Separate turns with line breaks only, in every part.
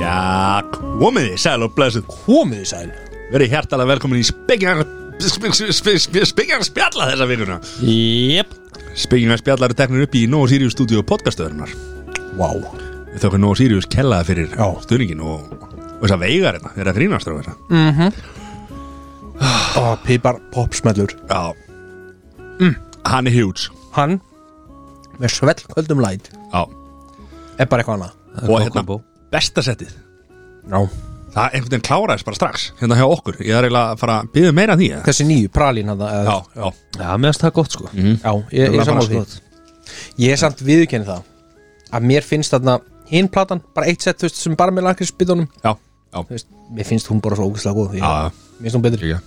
Já, komiði, sæl og blessuð
Hómiði sæl
Verið hjartalega velkomin í spekjar Spekjar spjalla þessa vikuna
Jep
Spekjar spjalla eru teknir upp í Nóa Sirius stúdíu podcastuðurinnar
Vá
Við þökkum Nóa Sirius kellaða fyrir
Já.
stuðningin og, og þessa veigar hérna Þeir að grínast á þessa
ah, Pipar popsmellur
Já mm. Hann er huge
Hann með svell kvöldum læt
Já
er bara eitthvað annað
Og hérna, besta settið
Já
Það einhvern veginn kláraðist bara strax Hérna hjá okkur Ég er eiginlega að fara að byggja meira af því eða?
Þessi nýju pralín hann Mhm.
Já, já
Já, mér finnst það gott sko mm.
Já, ég, ég er
um
sammála því Ég er samt viðurkenni það að mér finnst þarna hinn platan bara eitt sett þú veist sem bara með lakrisbytunum
Já, já,
þú veist, mér finnst hún bara svo ógæslega góð ég,
já, já.
Mér finnst hún betri
Kíkja.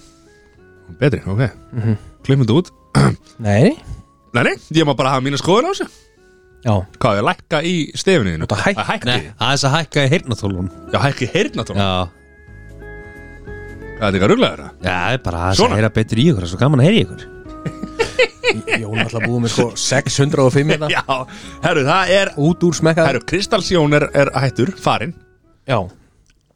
Betri, ok mm
Mhm.
-hmm. þetta út
Nei,
Nei, nei, ég má bara hafa mínu skoðun á þessu
já
Hvað, ég lækka í stefinu
Þú ert að hækka.
hækka
Nei, aðeins að hækka í heyrnathólun
Já, hækka í heyrnatón
Já,
Hvað er þetta eitthvað ruglaður það?
já, það er bara aðeins
Svona.
að heyra betur í ykkur það er Svo gaman að heyra í ykkur
Jón alltaf búið með sko 605 hérna,
Já, herru, það er
út úr smekkað
Herru, Kristalsjón er, er hættur, farinn
Já,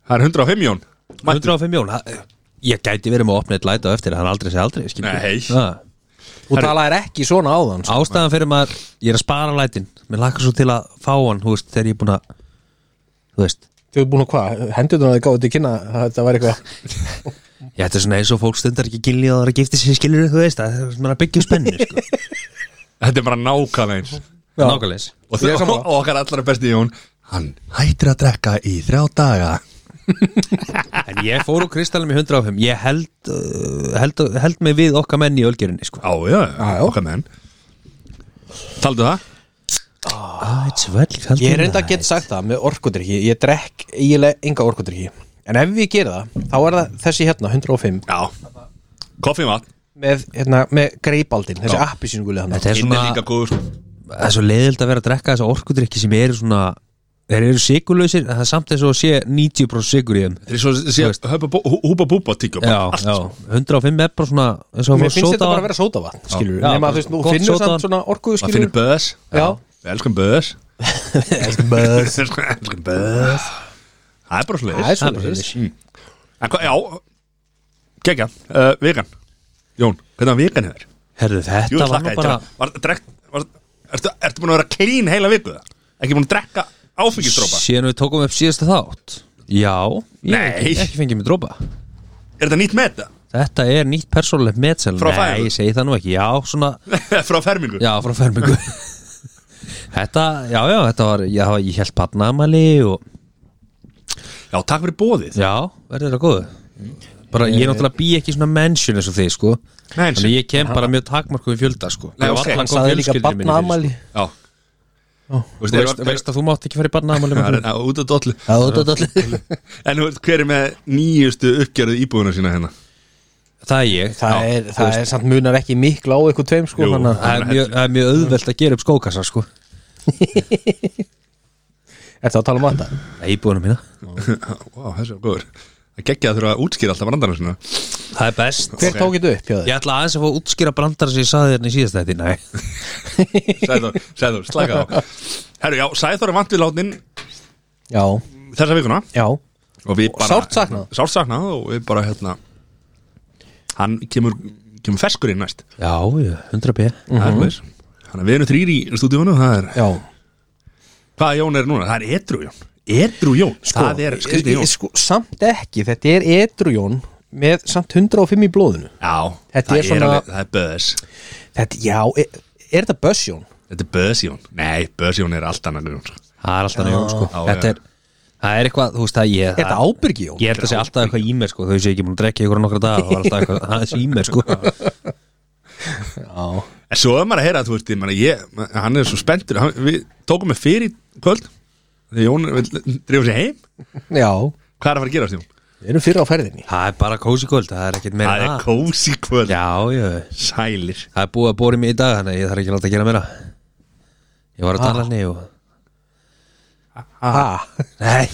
Það er 105 jón Mættur
105 jón það- Ég gæti verið með að opna eitt læt á eftir Það er aldrei sé aldrei skilur við.
Nei.
Já.
þú talaðir ekki svona áðan sko.
Ástæðan fyrir maður Ég er að spara lætin Mér lakka svo til að fá hann Þú veist, þegar ég er búin að Þú veist
Þau búin að hvað, hendurna þau gáðu til kynna að þetta var eitthvað
Ég ætti svona eins og fólk stundar ekki gilni og það er að gifta sér skilur við, þú veist að það er að byggja upp spennu sko.
Þetta er bara nákvæmlega eins
Já.
Nákvæmleis
Og,
Ég er
og,
sammála.
og okkar allra besti jón Hann hættir að drekka í þrjá daga
En ég fór úr kristalum í 105 Ég held, uh, held, held mig við okkar menn í ölgerinni sko.
Á, já,
Já, já.
okkar menn Taldu það?
ah, It's well held
Ég er reynda að geta sagt það með orkudrykki Ég drekk eiginlega enga orkudrykki En ef ég gera það, þá er það þessi hérna 105
Já Koffið vatn
með, hérna, með greipaldin, þessi
Já.
appisínuguli hann
Þetta er
Hinn er
svona,
líka góður sko.
það er svo leiðild að vera að drekka þessa orkudrykki sem eru svona Þeir eru sigurlausir, en það er samt eins og sé 90% sigur í þeim
Þetta er svo
Þú
sé- höpa bú- hú- Húpa búpa tíkjum
Já, já, 105 er bara svona eins og að
Mér
fá
finnst
sódavatn.
þetta bara að vera sótavatn skilur
Já,
Nefn að
bara
þú veist, nú
gott
finnur
sódavatn.
samt svona orku
Maður finnir
skilur
böðs
Já.
Við elskum böðs
Böð.
Elskum böðs Það er bara sliðis
Það er
Það er bara
svoleiðis.
svoleiðis.
En hvað, já Gekja, uh, vegan Jón, hvernig var vegan hefur?
Herðu,
Jú,
þetta var
hlakka
nú
ég til
bara
að- var, drek, var, ertu, ertu búin að vera klín heila viku það? Ekki búin að drekka áfengisdrópa?
Síðan við tókum upp síðasta þátt Já, ég hef
Nei.
ekki, ekki fengið mér drópa
Er þetta nýtt með þetta?
Þetta er nýtt persónulegt metsel
Frá fæðingu?
Nei, ég segi það nú ekki, já, svona
Frá fermingu?
Já, frá fermingu Þetta, já, já, þetta var já, Ég held barnaamali og
Já, takk fyrir bóðið
Já, verður þetta góðu Bara,
Eh,
ég náttúrulega bý ekki í svona mention eins og þið, sko
Nei,
Þannig ég kem bara mjög takmarkuð í fjölda, sko
Nei,
Ég
ok.
varla
Hann
kom
Það er líka
fjölskyldunni minni
batna
fyrir,
amali
Já
sko. Þú veist, veist að þú mátt ekki fara í barnaamali með
Það
þú.
er út af dollu
Það
En þú veist, hver er með nýjustu uppgjörðu íbúðuna sína hérna?
Það er ég
það
Já,
er,
þú
það
veist,
er samt munar ekki mikla á eitthvað tveim sko
Jú.
þannig að-
það er mjög- það er mjög auðvelt að gera upp skókassa, sko
Ertu að tala um þetta?
Það er íbúðunum mína
Vá, þessi er góður Það geggja að þurfa að útskýra alltaf brandana sína
Það er best
Hver tók þetta upp hjá þér?
Ég ætla aðeins að fá að útskýra brandara sem ég saði þérna í síðastætti Nei,
Sæður, sæður, slaka á Herru, já, Sæður er vant við látin
Já,
þessa vikuna
já
Og við bara
sárt saknað.
Sárt saknað og við bara hérna Hann kemur, kemur feskur inn næst
já, já, 100 p
Það er hlutleis Þannig að við erum þrýr í stúdíónu Það er,
Mhm. Já,
hvað Jón er núna? Það er Edru Jón Edru Jón, það er skrýtni
Ég-
Jón
ég- sko, Samt ekki, þetta er edrujón með samt 105 í blóðinu
Já,
Þetta
það
er svona-
alveg- Það er Böðs
Þetta, já, er, er þetta bussjón?
Þetta er Böðs Jón Nei, Böðs Jón er allt annað en Jón sko.
Það er alltaf nefn, sko
Já,
Þetta
já.
er, það er eitthvað, þú veist, það ég
Er þetta
það-
ábyrgjón?
Ég held að sé alltaf eitthvað í mér sko Þau sé ekki múin að drekja ykkur á nokkra daga Það var alltaf eitthvað aðeins í mér sko
Já,
En svo er maður að heyra að þú veist, ég meina ég, hann er svo spenntur, hann, við tókum með fyrir kvöld, þegar Jón drifur sér heim,
já
hvað er að fara að gerast Jón?
Við erum fyrir á ferðinni
Það er bara kósi kvöld, það er ekkert meira
Það
en
er kósi kvöld,
Já, já,
sælir.
það er búið að bóri mig í dag Þannig að ég þarf ekki að láta að gera meira Ég var á
Ah.
talarni og
Ha?
Nei,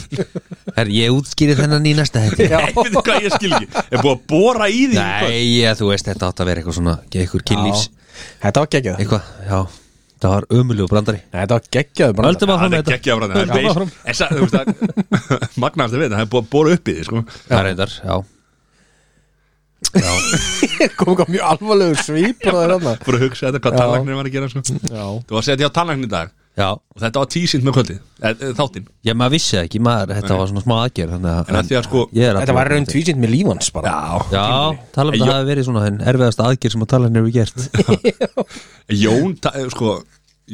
Herra, ég útskýri þennan í næsta hætti
Já.
Ég veit hvað ég skil ekki Er búið að bóra í því
Nei, já, þú veist, þetta átt að vera eitthvað svona Eitthvað kynlífs,
Þetta var geggjað Nei,
eitthvað, já Það var ömulegu brandari
Þetta var geggjaður bara
Höldum áfram
Það
með
er
þetta
geggja afræðan Það
Já,
er
áfram.
beis Essa, þú veist það Magnaðast að veita Það er búið að bóra upp í því sko
Það er reyndar, já
Kom ekki á mjög alvarlegu svýp og það er þarna
Búið að hugsa þetta Hvað
Já.
tallagnir var að gera sko
Já
Þú var að setja á tallagnir í dag
Já,
Og þetta var tísind með kvöldið eh, eh, Þáttinn
já, maður vissi það ekki, maður, þetta var svona smá aðgerð Þannig að,
En að því að sko
ég er að
Þetta var raun tvísind með lífans bara
Já
Já, tala
Ég-
um þetta hafi verið svona henn erfiðasta aðgerð sem að tala henni hefur gert
Jón ta- eh, sko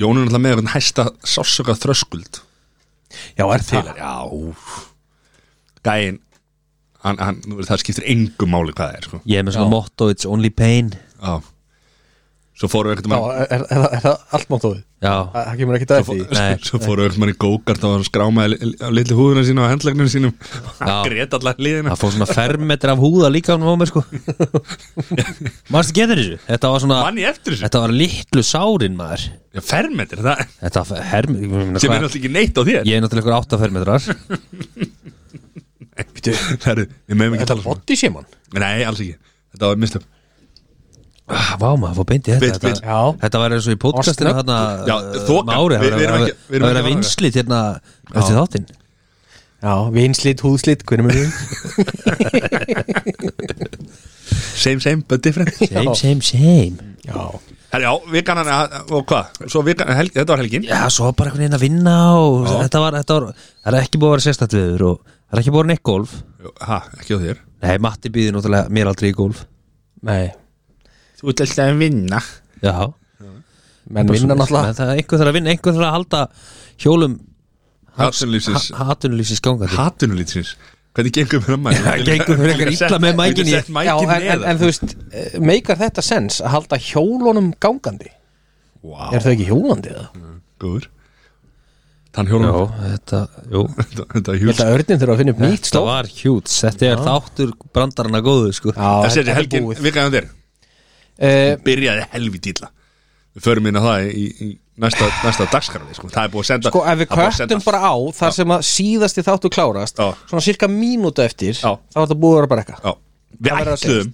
Jón er náttúrulega með einhvern hæsta sásöka þröskuld
Já, er
til
það
er, já úff. Gæinn hann, hann, þú veist, það skiptir engum máli hvað það er sko.
Ég er með
Já.
svona motto, it's only pain
Já. Svo fóru ekkert
Já,
mann
er, er, er, er það allt máttóði?
Já,
Það það kemur ekki dæði því
Nei.
Svo fóru ekkert mann í gókart og var að skráma á litlu húðuna sína og hendlagnum sínum
Já.
Hann grét allar liðina
það fór svona fermetri af húða líka hann á mér sko Manstu getur þessu? Þetta var svona,
Mann í eftir þessu
þetta var litlu sárin maður
Já, Fermetir, það
Þetta var hermetri
sem er náttúrulega ekki neitt á þér
Ég er náttúrulega ykkur átta fermetrar
Bíddu,
Það eru, við meðum ekki
Þetta
tala
er
svona
body shaman
Nei, alls ekki, þetta var mistöp
Ah, Vá maður, fór beint í
Beint,
þetta
beint.
Þetta, þetta var eins og í podcastinu
Og snöggt.
þarna
Já,
uh,
þokan.
með ári
Við-
Það
við
var
erum
að-
ekki- við erum ekki
það var að
að fara
vinslit hérna eftir þáttinn
Já, vinslit, húðslit, hvernig með því?
Same, same, but different
Same, same, same
Já
Herra, Já, vikan hann, og hvað? Svo vikan, helg, þetta var helgin
Já, svo var bara einhvern veginn að vinna og þetta var, þetta var, það er ekki búið að vera sérstætt viður og það er ekki búið að vera neitt golf
Ha, ekki á þér
Nei, Matti býði náttúrulega mér aldrei í golf
Nei
Þú ert alltaf að vinna
Já,
Menn vinna náttúrulega
En það er einhver þarf að vinna, einhver þarf að halda hjólum
Hatsunlýsins
hatunlýsins gangandi
Hatunlýsins Hvernig gengur mér að mæk?
Já, gengur mér eitthvað illa með mækinn í-
Ég sett
Já,
mækin
en, en, en
neðar
þú veist, eh, meikar þetta sens að halda hjólunum gangandi?
Vá,
Er þau ekki hjólandi eða?
góður
Jó,
Tannhjólum
þetta, jú
Þetta þetta er
Ég held
hjúls
að örninn þurfa að finna upp nýtt
Þetta
slóð
var hjút, þetta er þáttur brandarana góðu sko
Já,
Það
þetta
setja
er
helgin
búið.
Vikaðan þér
Eh,
Byrjaði helviti illa Við förum inn á það í, í næsta, næsta dagskarfi sko. Það er búið að senda
Sko, ef við
það er búið að senda-
kvöttum bara á þar sem að síðasti þáttu klárast
Já.
svona cirka mínútu eftir
Já.
þá er þetta búið að vera brekka
Já, Við
Það verður að
ætluðum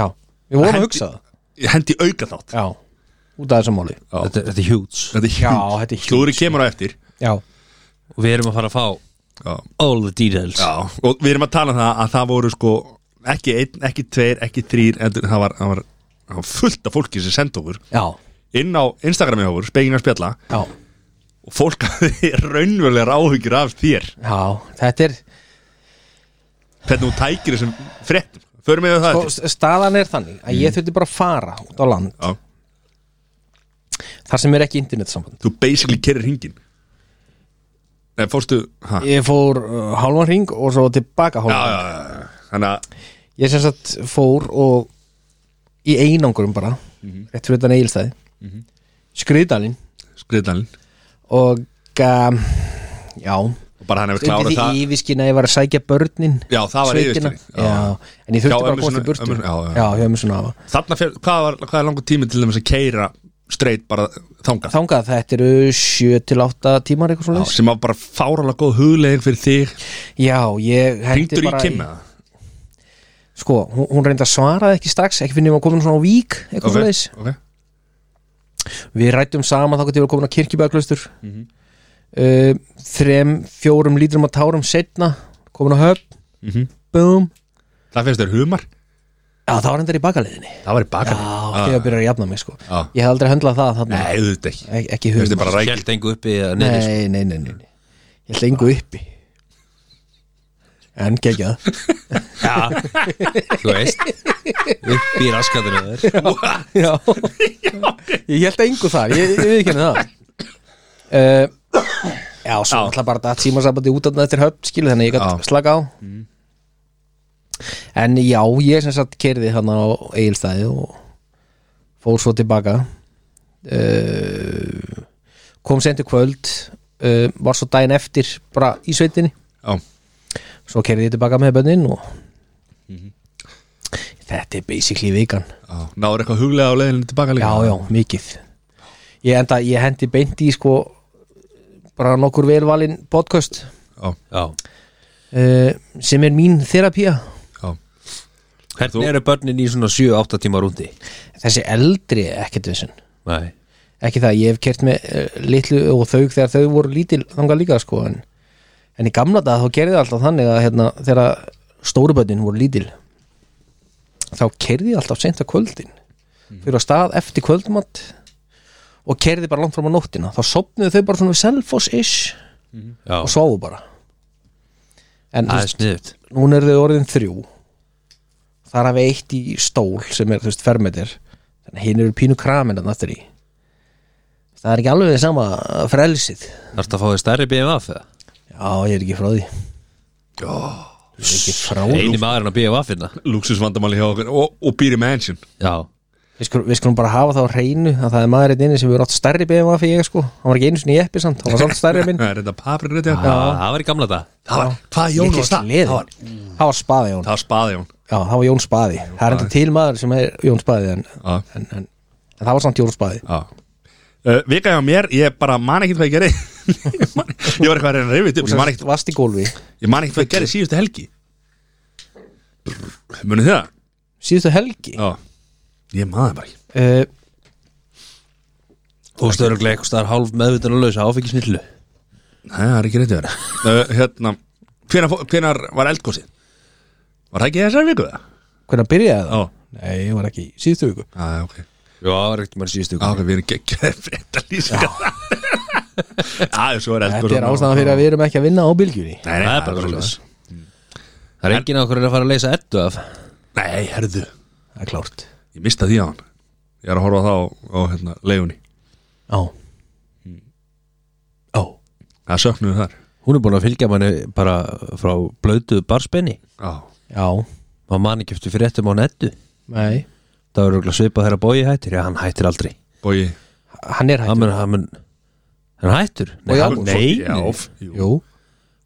Já, við vorum
hendi-
að hugsa það
Ég hendi auka þátt
Já, út af þessu máli
Já.
Þetta, þetta er hjút
Þetta er
Já,
hjúls
þetta er hjúts.
Slúri kemur á eftir
Já,
og við erum að fara að fá
Já
all the details
Já, og við erum að tala um það að það voru sko ekki einn, ekki tveir, ekki þrýr heldur, það, var, það, var, það var fullt af fólki sem sendi okkur
já,
inn á Instagrami hjá okkur, spekingar spjalla
já,
og fólk hafði raunverulegar áhyggjur af þér
já Þetta er,
hvernig þú tækir þessum fréttum förum við á það
og
eftir.
s- staðan er Mm. þannig að ég þurfti bara að fara út á land
Já,
þar sem er ekki internetsamband
þú basically kerrir hringin Nei, fórstu ha, já,
Ég fór uh, hálfan ring og svo tilbaka
já,
hálfan
já, já, þannig að
Ég sem sagt fór og í einangurum bara
Mhm.
rétt fyrir utan eigilstæði mm skriðdalinn
skriðdalinn
og um, já
og bara hann hefur
undir
klárað
því
það
yfirskinn að ég var að sækja börnin
Já, það var
sveitina.
yfirskinn, já.
já. en ég
Já,
þurfti bara að
ömmu
komast í
sinni-
burtu
ömmu- já, já.
já, hjá mér svona afa
þarna fyrir, hvað, var, hvað er langur tími til þess að keira straight bara þangað
þangað þetta eru 7 til 8 tímar eitthvað svona
sem var bara fáralega góð hugleðing fyrir þig
já, ég hendi
Hringdur í
bara
kynna
sko, hún, hún reynda að svaraði ekki strax ekki finnum að komin svona á vík eitthvað okay.
okay.
við rættum saman þá gott ég var komin á kirkjubæðaklaustur mm
Mhm.
þrem, fjórum lítrum að tárum setna komin á höfn
Mhm.
búm
Það finnst þér humar
já, þá var hendur í bakaleðinni
Það var í
já,
bakar
þegar byrjar að jafna mig sko
Já.
ég hef aldrei höndlað það þarna
Nei, auðvitað ekki
Ek, ekki
Finnst
hugum
þér bara rækir
Hjælt engu uppi eða niður sko.
nei, nei, nei, nei, nei. Ég held engu uppi En geggjað
Já, þú veist upp í raskatinu á þér
Já Ég held engu þar, ég, ég við kynna það uh, Já, svo
Já.
alltaf bara datt símasabandi út þarna eftir höfn skilu þannig að ég
Já.
gætt slaka á En já, ég sem sagt kerði hann á eigilstæði og fór svo tilbaka uh, kom sent í kvöld uh, var svo daginn eftir bara í sveitinni
Já,
svo kerði ég tilbaka með bönnin og þetta er basically vikan
já Náður eitthvað huglega á leiðinu tilbaka líka
já já, mikið ég, enda, ég hendi beint í sko bara nokkur velvalin podcast
Já,
Já.
uh, sem er mín þerapía
já
Hvernig eru börnin í svona 7-8 tíma rúndi?
þessi eldri er ekkert vissin
Nei
ekki það, ég hef kert með uh, litlu og þau þegar þau voru lítil þangað líka sko en, en í gamla dag þá gerði ég alltaf þannig að hérna, þegar stóruböndin voru lítil þá kerði ég alltaf seint að kvöldin fyrir að stað eftir kvöldmatt og kerði bara langt fram á nóttina þá sopnuðu þau bara svona við selfoss-ish
Já,
og sváðu bara en þú
það
veist,
er sniðut
núna er þau orðin þrjú þar hafi eitt í stól sem er þú veist fermetir þannig að hinn eru pínu kramin að náttúr í það er ekki alveg það sama frelsið
Þarf þetta að fá þér stærri BMF eða?
já ég er ekki frá því ég er ekki frá því
Einu maðurinn að BMF finna
Luxusvandamáli hjá okkur og, og býri mansion
Já,
við skulum, við skulum bara hafa það á hreinu að það er maður einn inni sem hefur átt stærri BMF fyrir ég sko hann var ekki einu sinni í eppi samt, hann var samt stærri en minn
Það er þetta papri rétt hjá
það það var í gamla dag
Það var, hvað Ah, Jón var það?
það
Það
var,
var,
það
það
var spaði Jón
var spaði Jón
já, það var Jón spaði, það er enda til maður sem er Jón spaði en,
Já.
en, en, en, það var samt Jón spaði
Já Uh, vika hjá mér, ég bara man ekkert hvað ég gerði ég, man, ég var eitthvað að reyna að reyfi upp ég man ekkert
vast í gólfi
ég man ekkert hvað ég gerði síðustu helgi munið þið það?
síðustu helgi
Já, ég man það bara ekki
uh,
Þú stöðurlega eitthvað staðar hálf meðvitað og lausa áfengisnillu
Nei, það er ekki rétt að vera uh, Hérna, hvenar, fó- hvenar var eldgósið? Var það ekki í þessari viku það?
hvernig byrjaði það?
Já,
Nei, ég var ekki í síðustu viku
Já, já, ok
Já, það var ekkert maður síðustu
Já, ok, við erum geggjöð frétta lýsing Já, já, svo er eldgósið
Þetta er ástæðan fyrir að við erum ekki að vinna á bylgjunni
Nei, nei,
Það er bara svoleiðis. Það er enginn okkur er að fara að leysa ettu af
Nei, herðu,
Það er klárt
ég mista því á hann Ég er að horfa á það á, á hérna, leifunni
Á Á
Það söknuðu þar
Hún er búin að fylgja manni bara frá blötu barspenni
Já,
Já
Maður mann ekki eftir fyrir ettum á nettu
Nei
Það er okkur svipað þegar að bói hættir Já, hann hættir aldrei
bói
Hann er
Hann
hættur
mun, hann mun Hann hættur? Nei,
Og já,
hann, nei,
Já,
nei.
f- jú.
Jú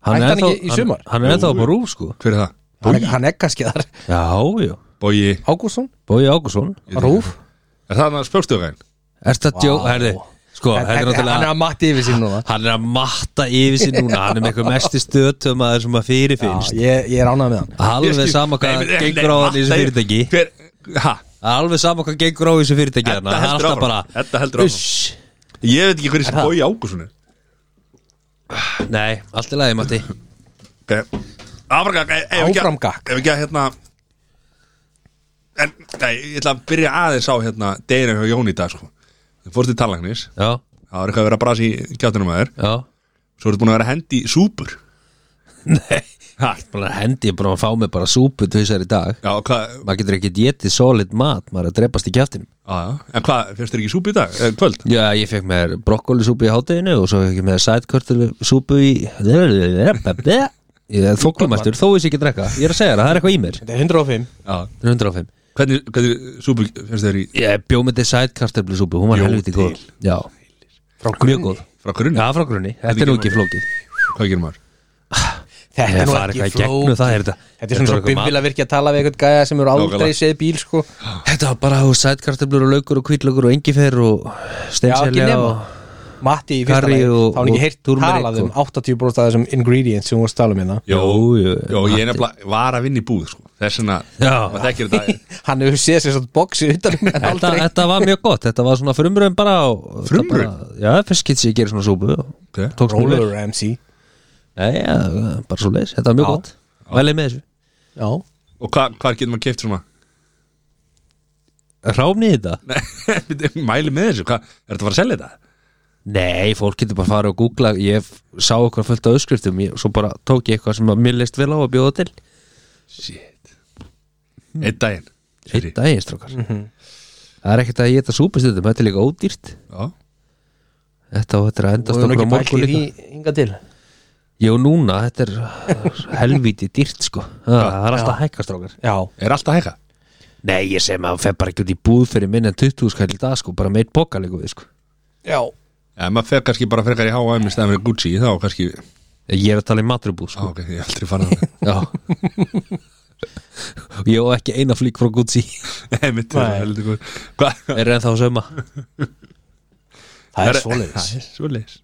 Hann
Hætti
er
hann
ennþá-
ekki í sumar?
Hann, hann er ennþá á rúf sko
Hver er það?
Hann er, hann er kannski þar
Já, já
Bói,
Ágússon
Bói Ágússon
Rúf
er það hann spjókstugæðin?
Er þetta djók? Herði, sko,
Hann
þetta er
hann er
náttúrulega
að matti yfir sín núna
Hann er að matta yfir sér núna Hann er með eitthvað mesti stötum að sem að fyrirfinnst
ég, ég er ánægð með hann
Alveg sama hvað gengur á hann í þessu fyrirtæki
Hver, ha,
Alveg sama hvað gengur á í þessu fyrirtæki
Edda
hérna. Það er
heldur
alltaf
áfram.
bara
Edda heldur áfram.
Uss.
ég veit ekki hver þessi bói ágúsunni
Nei, allt í lagi Matti
okay. Áframgak ef- ef eh, ekki að-
Áframgakk.
Ef ekki að hérna En, nei, ég ætla að byrja aðeins á hérna Deginum hjá Jón í dag, sko Þú fórst í talagnis,
Já,
það var eitthvað að vera að brasa í kjáttunum að þér
já
Svo ertu búin að vera að hendi í súpur
Nei,
Ha,
bara hendi ég bara að fá mig bara súpu tvisar í dag
já, hvað,
Maður getur ekki getið solid mat Maður er að drepast í kjæftinum
já, já En hvað, fyrst þér ekki súpu í dag, eh, kvöld?
Já, ég fekk mér brokkolisúpu í hátæginu og svo fekk ég mér sætkörtulisúpu í Ég er þóklumættur, þó þess ég ekki drekka Ég er að segja það, það er eitthvað í mér
Þetta er 105
Já,
105
hvernig, hvernig súpu fyrst þér í
Ég bjó með þetta sætkörtulisúpu, hún var
Bjó
helviti
til.
góð Já,
Frá
mjög góð
frá grunni?
Já, frá grunni, þetta er nú ekki flókið
Hvað gerir maður?
Þetta
Ég
er nú
fara
ekki
eitthvað í gegnum
flók
það er þetta
Þetta er svona svo
eitthvað mat.
bimbil að virkja að tala við eitthvað gæja sem eru aldrei
Nákvæmlega.
séð bíl sko
Þetta var bara þú sætkartöflur og laukur og kvítlaukur og engifer og
Já, ekki
steinselja
nema
og
Matti í fyrsta
Curry
lagi,
og-
þá hann ekki
og
heyrt
turmeric
talað um
og-
80% af þessum ingredients sem hún var að tala um hérna
Jó,
Jú, jú,
Jó, ég nefnilega var að vinna í búð, sko Þess vegna,
Já.
maður þekkir þetta
hann hefur séð sér svona boksi utan um en
Þetta,
aldrei
þetta var mjög gott, þetta var svona frumröðum bara og-
Frumraun?
þetta bara- Já, fyrst getur ég að gera svona súpu og
Ok.
tókst mjög vel
Roller MC
Nei, já, bara svo leis, þetta var mjög
Já.
gott Vælið með þessu
já,
Og hva, hvað getur maður keift svona?
Ráfni þetta?
Nei, Mæli með þessu, hvað, er þetta að fara að selja þetta?
Nei, fólk getur bara að fara og googla Ég f- sá okkur fullt af öskriftum ég, Svo bara tók ég eitthvað sem að mér leist vel á að bjóða til
Shit Einn daginn
Eitt daginn, strókar Það er ekkert að ég geta súpustundum, þetta er líka ódýrt
Já,
Þetta á þetta er að endast
og hún
okkur
ekki
á
bælt
morgun
í
líka
því hinga til
Jó, núna, þetta er uh, helvíti dýrt sko Það það er alltaf að hækka, strókar
já,
er alltaf hækka
Nei, ég segi maður, fer bara ekki út í búð fyrir minna en 20 skall í dag sko, bara meitt boka líka við sko
já,
Já, maður fer kannski bara frekar í H&M í stæðan fyrir Gucci þá kannski, já,
Ég er að tala í matrubúð sko
ok, ég hef aldrei farað það
Já Ég á ekki eina flík frá Gucci
Nei, mitt er
Nei.
heldur góð Hvað?
Er ennþá söma
það er svoleiðis
Svoleiðis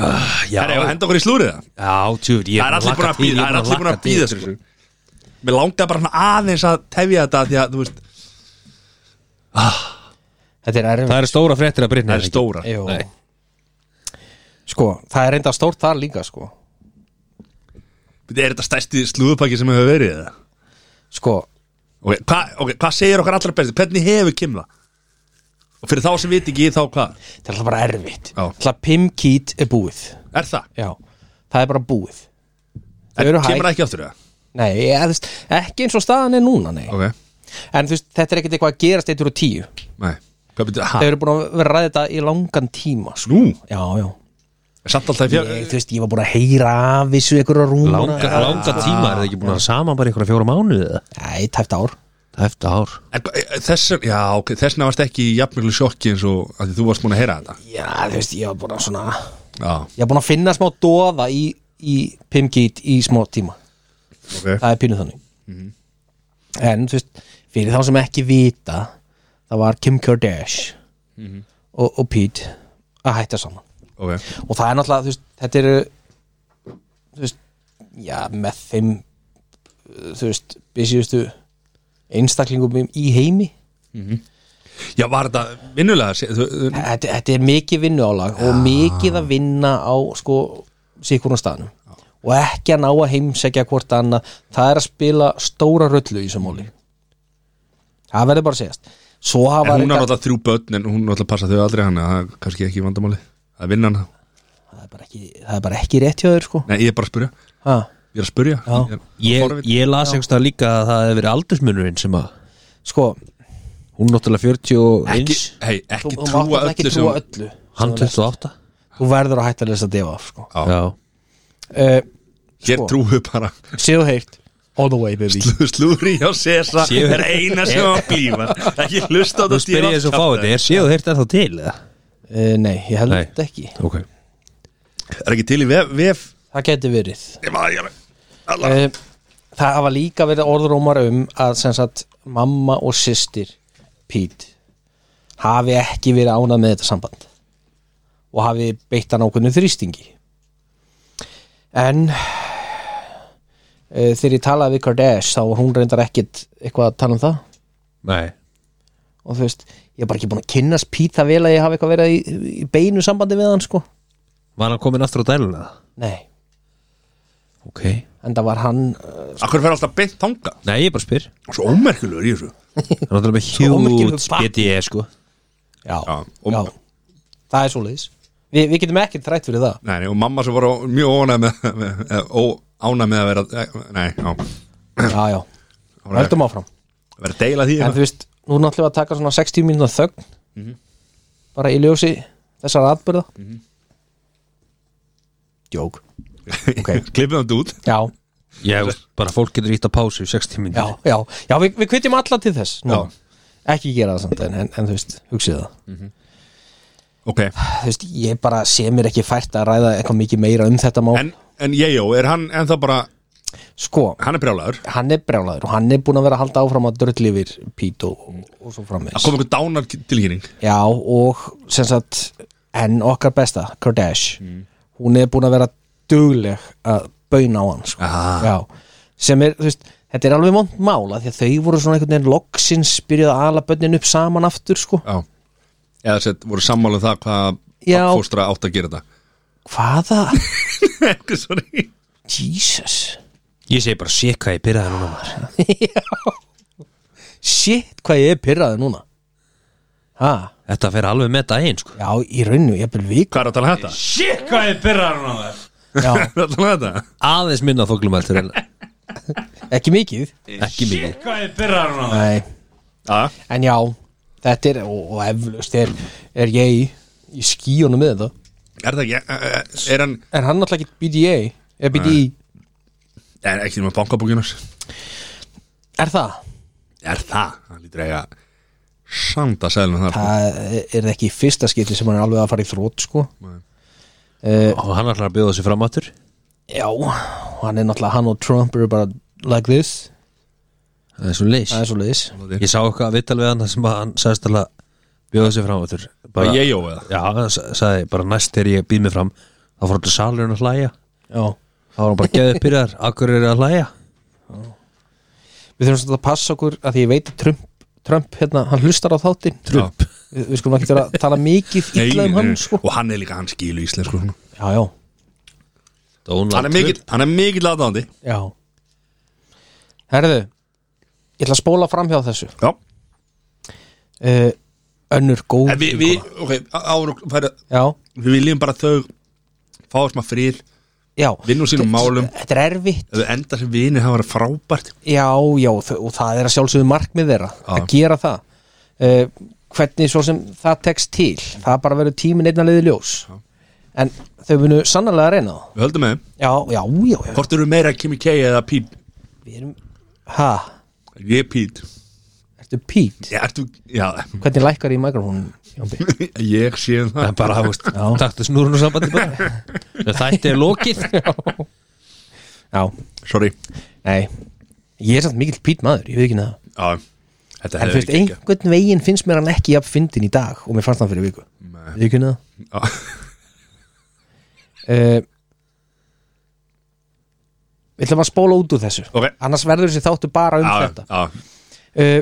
Já,
Herra, ég var að henda okkur í slúrið það
já tjúr,
Það
ég
er allir búin að býða, það er allir búin að sko. býða sér þessu. Mér langaði bara svona aðeins að tefja þetta því að, þú veist,
Þetta er erfið
Það eru stóra fréttir að brinna
það er stóra
Jú.
Nei.
Sko, það er reynda stórt þar líka sko.
Bíddu, Er þetta stærsti slúðupakki sem hefur verið eða?
sko,
Ok, hvað okay, hva segir okkar allra besti? Hvernig hefur Kim það? Og fyrir þá sem viti ekki þá hvað?
það er alltaf bara erfitt
Já.
Alltaf pimkít er búið
Er það?
Já, það er bara búið Þau
Er,
eru hægt
kemur það ekki aftur það?
Nei, ég, þú veist, ekki eins og staðan er núna nei.
Ok,
En þú veist, þetta er ekkert eitthvað að gerast eittur og tíu
nei Hvað byrja, ha?
Eh,
Þau eru búin að vera að ræða þetta í langan tíma sko.
Nú,
Ah. Já, já
samt alltaf í fjör
ég, Þú veist, ég var búin að heyra af þessu einhverja rúmur
Langa, langa tíma, er það ekki búin að saman bara einhverja fjóra mánuði eða?
Nei, tæft ár
Það er eftir ár
En hva- e, Þess, já, ok, þessna varst ekki í jafnmjölu sjokki eins og að þú varst múin að heyra þetta
Já, þú veist, ég var búin að svona Ég
Já,
var búin að finna smá doða í, í pimkít í smá tíma
ok
það er pínu þannig en þú veist, fyrir þá sem ekki vita það var Kim Kardashian og, og Pete að hætta saman
Ok,
og það er náttúrulega, þú veist, þetta eru þú veist, já, með þeim þú veist, busyustu einstaklingum í heimi
já var þetta vinnulega se- þú- þú-
þetta, þetta er mikið vinnuálag og mikið að vinna á sko síkurum staðnum og ekki að ná að heimsækja hvort annað það er að spila stóra rullu í þessum móli það verður bara að segjast svo
En
hafa
hún har
reyndar-
náttúrulega þrjú börn en hún náttúrulega passa þau aldrei hann það er kannski ekki vandamáli að vinna hann
það, er bara ekki, það er bara ekki rétt hjá þér sko
Nei, ég er bara að spyrja
ha.
Ég er að spyrja
Já.
Ég er
Ég,
forvitin.
ég las einhversta líka að það hefði verið aldursmunurinn sem að
sko,
Hún er náttúrulega 41
Ekki, hei, ekki
þú- þú mátt
trúa
náttúrulega
öllu
ekki
sem
trúa öllu
Hann 28
þú verður að hætta að lesa defa af sko
Já.
Já
uh,
Hér
sko.
trúu bara
séðu heilt all the way baby
Slúri hjá Sesa
Séu- Eh,
er eina sem á að blífa Ekki hlusta á
Nú
þetta
spyr ég þess að fá þetta, er séu þeir þetta til eða?
uh, nei, ég held
Nei.
ekki
Ok
Er ekki til í vef, vef
það geti verið
Ég maður ég Alla
Eh, Það hafa líka verið orðrómar um að sem sagt mamma og systir Pete hafi ekki verið ánað með þetta samband og hafi beitt hann ákveðnu þrýstingi en uh, þegar ég talaði við Kardash þá var hún reyndar ekkit eitthvað að tala um það
Nei
og þú veist, ég er bara ekki búin að kynnast Pete það vel að ég hafi eitthvað verið í, í beinu sambandi við hann sko
Var hann komin aftur á dæluna?
nei,
Ok
en það var hann uh,
Akkur fer alltaf beint þanga
Nei, ég bara spyr
Svo ómerkulegur í þessu
Það er náttúrulega með
Svo ómerkilegur
hjút
pakki.
BDE sko
já,
Já, og-
já, það er svoleiðis Vi, við getum ekkert þrætt fyrir það
Nei, nei, og mamma sem var á- mjög ónæð með, með, eh, ó- ánægð með að vera eh, Nei, já
já, já, höldum áfram
Verið að deila því
en
hérna.
þú veist, nú er náttúrulega að taka svona 60 mínúna þögn
Mhm.
bara í ljósi þessar atbyrða jók ok.
Klippum þetta út
já,
Já, bara fólk getur ítt að pásu í 60 minn
já, já, já við, við kvittum alla til þess
Já.
nú. ekki gera það samt en, en, en þú veist, hugsið það
Ok
þú veist, ég bara sé mér ekki fært að ræða eitthvað mikið meira um þetta mál
En, en ég, jó, er hann ennþá bara
sko,
Hann er brjálagur
hann er brjálaður og hann er búin að vera að halda áfram að dröll yfir Pít og, og, og svo
Það
framvegis
kom einhver dánar tilkynning
Já og sem sagt en okkar besta, Kardash
Mm.
hún er búin að vera dugleg að bauna á hann sko.
Ah.
Já, sem er, þú veist, þetta er alveg mont mála því að þau voru svona einhvern veginn loksins byrjuð að ala bönnin upp saman aftur sko.
Já Eða sett voru sammála um það hvað
Já.
fóstra átt að gera
Hvaða?
þetta Ekki sorry
Jesus
Ég segi bara sé hvað ég byrjaði núna maður
Shit, hvað ég er pyrraði núna Ha,
Þetta fer alveg með daginn sko
já, í rauninu, ég er byrjuð vik
Hvað er að tala um þetta?
Shit hvað ég byrjaði núna maður
Já,
Hvað er að tala um þetta?
Aðeins minna þoklumæltur en
ekki mikið
ekki mikið
hvað ég byrjar núna
Nei,
Já
en já þetta er, og, og eflust er, er ég í- í skíunum með þetta
Er það ekki, eh, eh, er hann
Er hann náttúrulega ekki BDA? Er BDI?
Er eh, ekki með bankabókinars?
Er það?
Er það? Hann lítur eiga Sanda sælum þar sko.
Það er það ekki í fyrsta skipti sem hann er alveg að fara í þrótt sko Eh,
Og hann ætlar að bjóða sig fram aftur
Já, og hann er náttúrulega hann og Trump eru bara like this
Það er svo leys
Það er svo leiðis
Ég sá eitthvað að vital við hann þar sem að hann sagðist alveg að bjóða sig fram aftur
Bara ég jó eða
Já, hann sa- sagði bara næst þegar ég býð mig fram þá fór þetta salurinn að hlæja
já
þá var hann bara geðið pyrrar, akkur er að hlæja
Við þurfum svolítið að passa okkur að því ég veit að Trump, Trump hérna, hann hlustar á þáttin
Trump.
Við, við skulum ekki vera að tala mikið illa um hann sko.
og hann er líka hann skilu íslensku svona.
Já, já,
Donald
hann er mikill, hann er mikill aðdáðandi
já Herðu Ég ætla að spóla fram hjá þessu
já
uh, Önnur góð
En við, við, ok, árum færa
Já,
við viljum bara að þau fá smá frið,
já
vinna úr sínum málum
Þetta er erfitt
ef þau enda sem vinir hafa verið frábært
Já, já, þau- og það er að sjálfsögðu markmið þeirra að
Já.
gera það uh, hvernig svo sem það tekst til það bara verður tímin einna leiði ljós en þau munu sannarlega að reyna það
við höldum með þeim,
Já, já, já, já
hvort eru meira Kimi K eða Pete,
Við erum, ha,
ég er Pete
ertu Pete?
já, ertu, já,
Hvernig lækkar í mikrofónum? Jónbi?
ég sé um það
en bara, þú veist,
Já.
taktu snúrun og sambandi bara þetta er lokið
Já,
sorry,
nei Ég er samt mikill Pete maður, ég veit ekki neða
já þetta
En
hefur
þú veist,
ekki ekki
einhvern veginn finnst mér hann ekki jafn fyndin í dag og mér fannst hann fyrir viku
Nei.
Við ekki um neða
Já.
uh, Við ætlum að spóla út úr þessu
Ok.
Annars verður þessi þáttu bara um
Já,
þetta
já,
uh,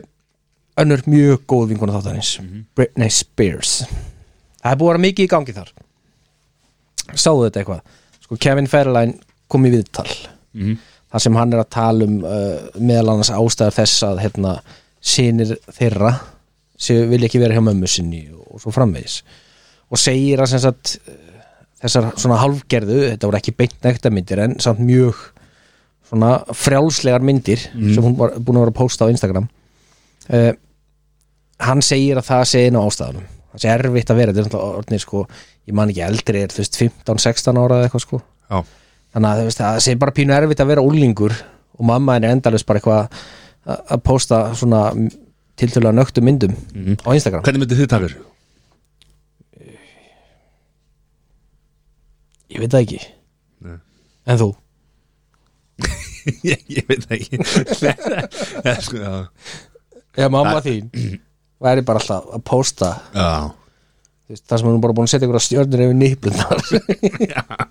Önnur mjög góð vinkona þáttanins Britney Spears Það er búið að vera mikið í gangi þar Sáðu þetta eitthvað Sko Kevin Fairline kom í viðtal
Mhm.
þar sem hann er að tala um uh, meðal annars ástæður þess að hérna, sinir þeirra sem vilja ekki vera hjá mömmu sinni og svo framvegis og segir að sem sagt eh, þessar svona hálfgerðu, þetta voru ekki beint nekta myndir en samt mjög svona frjálslegar myndir sem hún var búin að vera að posta á Instagram uh, hann segir að það sé inn á ástæðanum það sé erfitt að vera, þetta er náttúrulega orðnir sko ég man ekki eldri er þú veist 15-16 ára eða eitthvað sko
já,
þannig að þú veist, það sé bara pínu erfitt að vera úlingur og mamma henni endalus bara eitthvað að- að posta svona tiltölulega nögtum myndum á Instagram
hvernig myndið þið takur?
ég veit það ekki
Nei.
en þú?
ég, ég veit það ekki Já, sko, já,
Já, mamma þín væri bara alltaf að posta
já,
þú veist, þar sem hún er bara búin að setja ykkur stjörnir yfir nýplunar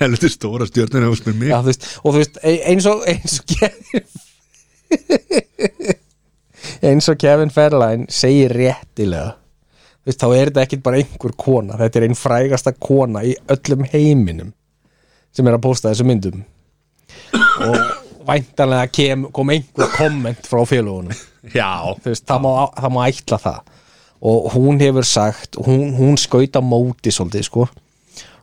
helviti stóra stjórnir hefur spyr mig
Já, þú veist, og þú veist, e- eins og eins og Kevin eins og Kevin Fairline segir réttilega þú veist, þá er þetta ekkit bara einhver kona þetta er einn frægasta kona í öllum heiminum sem er að posta þessu myndum og væntanlega kem, kom einhver komment frá félagunum
já,
þú veist, það má, það má ætla það og hún hefur sagt hún, hún skaut á móti svolítið sko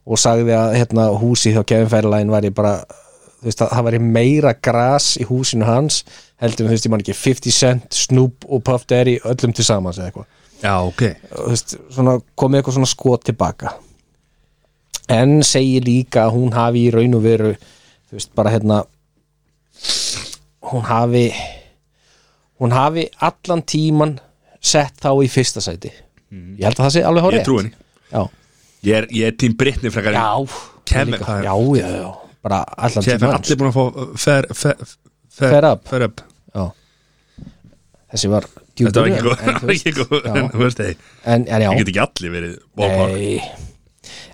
og sagði að hérna, húsi hjá Kevin Fairline væri bara þú veist, það, það væri meira gras í húsinu hans heldur en þú veist, ég man ekki 50 Cent, Snoop og Puff Daddy öllum til samans eða eitthvað
já, ok
þú veist, svona, komið eitthvað svona skot tilbaka en segir líka að hún hafi í raun og veru þú veist bara hérna hún hafi hún hafi allan tíman sett þá í fyrsta sæti ég held að það sé alveg
Mhm.
hárið
ég trú henni
já,
ég er, ég er tím Brittany frekar en-
já,
Kevin,
líka.
það er-
já, já, já, bara allan
Sér fyrir
tíman
allir búin að fá uh, fer, fer, fer,
Fer up.
fer up.
já. þessi var djúpur,
Þetta var ekki
en-
góð
en
Þetta
þú
var
veist-
ekki góð
já.
En þú veist þið
en, en já
Það get ekki allir verið ballpark
Nei.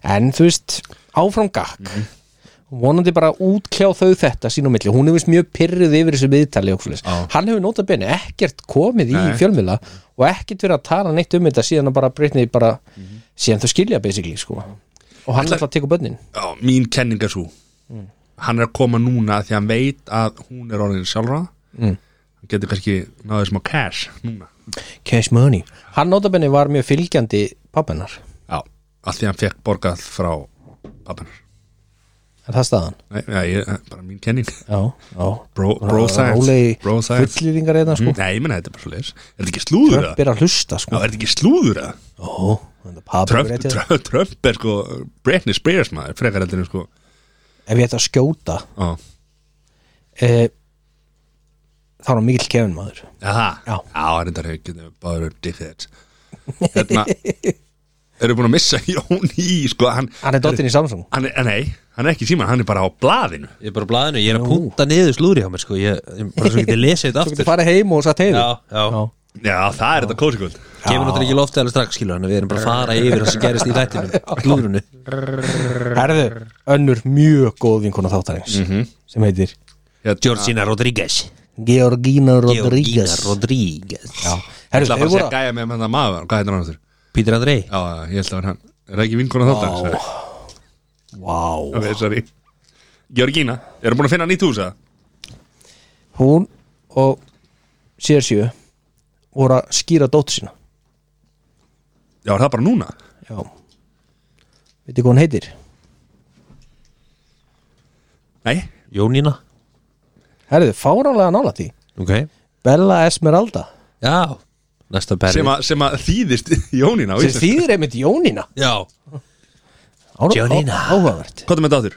En þú veist, áfram gakk
Mhm.
vonandi bara útkljá þau þetta sín á milli, hún hefur mjög pyrruð yfir þessu viðtali og svoleiðis.
Já.
hann hefur nota benni ekkert komið í
Nei.
fjölmila og ekkert verið að tala neitt um þetta síðan að bara Britney bara, síðan þau skilja basically sko, og
Mhm.
hann
Ætla-
ætla að teka bönnin
Já, Mín kenning er svo
Mm.
Hann er að koma núna því hann veit að hún er orðin sjálfra
Mm.
Hann getur kannski náðið smá cash núna
cash money, hann nota benni var mjög fylgjandi pappennar,
Já, allt því hann fekk borgað frá pappanar
er það staðan?
Nei, já, ég, bara mín kenning
Já, já
Bro, bro science
Róleg
Bro science
fullýringar eða sko,
Nei, ég menna þetta er bara svo leis Er þetta ekki slúður
Trump
að?
er að hlusta sko
Já, er þetta ekki slúður að?
Ó, þetta pappi
Trump,
rétti það.
Trump, Trump er sko Britney Spears maður, frekar heldur en sko
ef ég ætti að skjóta
Já,
e, þá er hann mikill kefin maður
Jaha.
Já.
Já, reyndar hefur getið báður upp dickheads Hérna Eru búin að missa Jón í sko, hann,
hann er dottinn í Samsung
hann, er- Nei, hann er ekki síma, hann er bara á blaðinu
ég er bara á blaðinu, ég er að punta niður slúri á mér sko, ég, ég bara svo getið lesið þetta
þú getur
aftur
farið heim og satt heiðu
já, já,
Já, það er þetta kósikvöld
já.
kemur náttúrulega ekki loftið alveg strax skilur hann við erum bara að fara yfir það sem gerist í þættinum glúrunu
Herðu, önnur mjög góð vinkona þáttarins
Mhm.
sem heitir
Hérna,
Georgina Rodríguez
Georgina
Georgina
Rodríguez
Rodríguez
Já,
Ég ætla bara
herðu, þau
að segja
voru
gæja með hann að maður Hvað heitir hann aftur?
Pítur Andrei
Já, já, ég ætla að vera hann Er það ekki vinkona þáttar? Sorry.
Vá,
Ok, sorry Georgína, eru búin að finna nýtt hús að?
hún og CR7 voru að skýra dóttu sína
Já, er það bara núna?
Já Veitir hvað hún heitir?
Nei
Jónína
Herðu, fáránlega nála því
ok
Bella Esmeralda
já næsta
Sem,
berri
a, sem að þýðist Jónína á
sem
íslensku.
þýðir einmitt Jónína
já
Ára- á-
Jónína.
Áhugavert
Hvað er með dátur?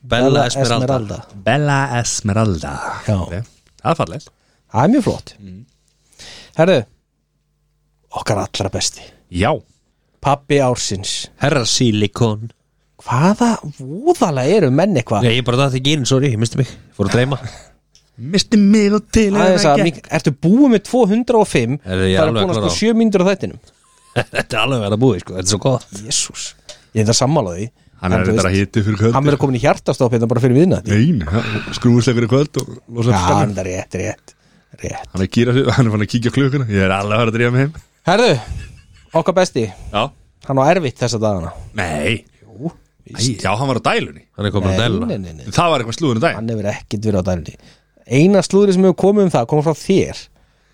Bella Esmeralda
Bella Esmeralda
Já.
Ok, Það er fallegt
Það er mjög flott
Mm.
Herðu Okkar allra besti
Já
Pappi ársins
Herra Silikon
Hvaða voðalega eru menn eitthvað
Nei, ég bara dætti ekki inn, sorry, ég misti mig Fór að dreyma
Misti mig og til
Aðeins að, Mik- ertu búið með 205
Herðu,
Það
ég er
er búin
alveg
að
klár
sko
á.
7 mínútur á þættinum
Þetta er alveg að vera búið, sko, þetta er svo gott
Jésús Ég er það sammála því
Hann
En
er
þú
þetta að
veist,
hiti fyrir kvöld
Hann verður komin í hjartastopp hérna bara fyrir viðna
Nein, skrúðslegur í kvöld og losa
Já,
upp spennu
hann er rétt, rétt, rétt
Hann er, kýra, sig- hann er fann að kíkja á klukkuna Ég er alveg að fara að drífa mig heim
Herðu, okkar besti
Já
Hann á erfitt þessa dagana
Nei
Jú,
Æ, Já, hann var á dælunni
Hann er komin að dæla
nei, nei, nei.
Það var eitthvað slúðinu dæl
hann hefur ekkert verið á dælunni eina slúðri sem hefur komið um það kom frá þér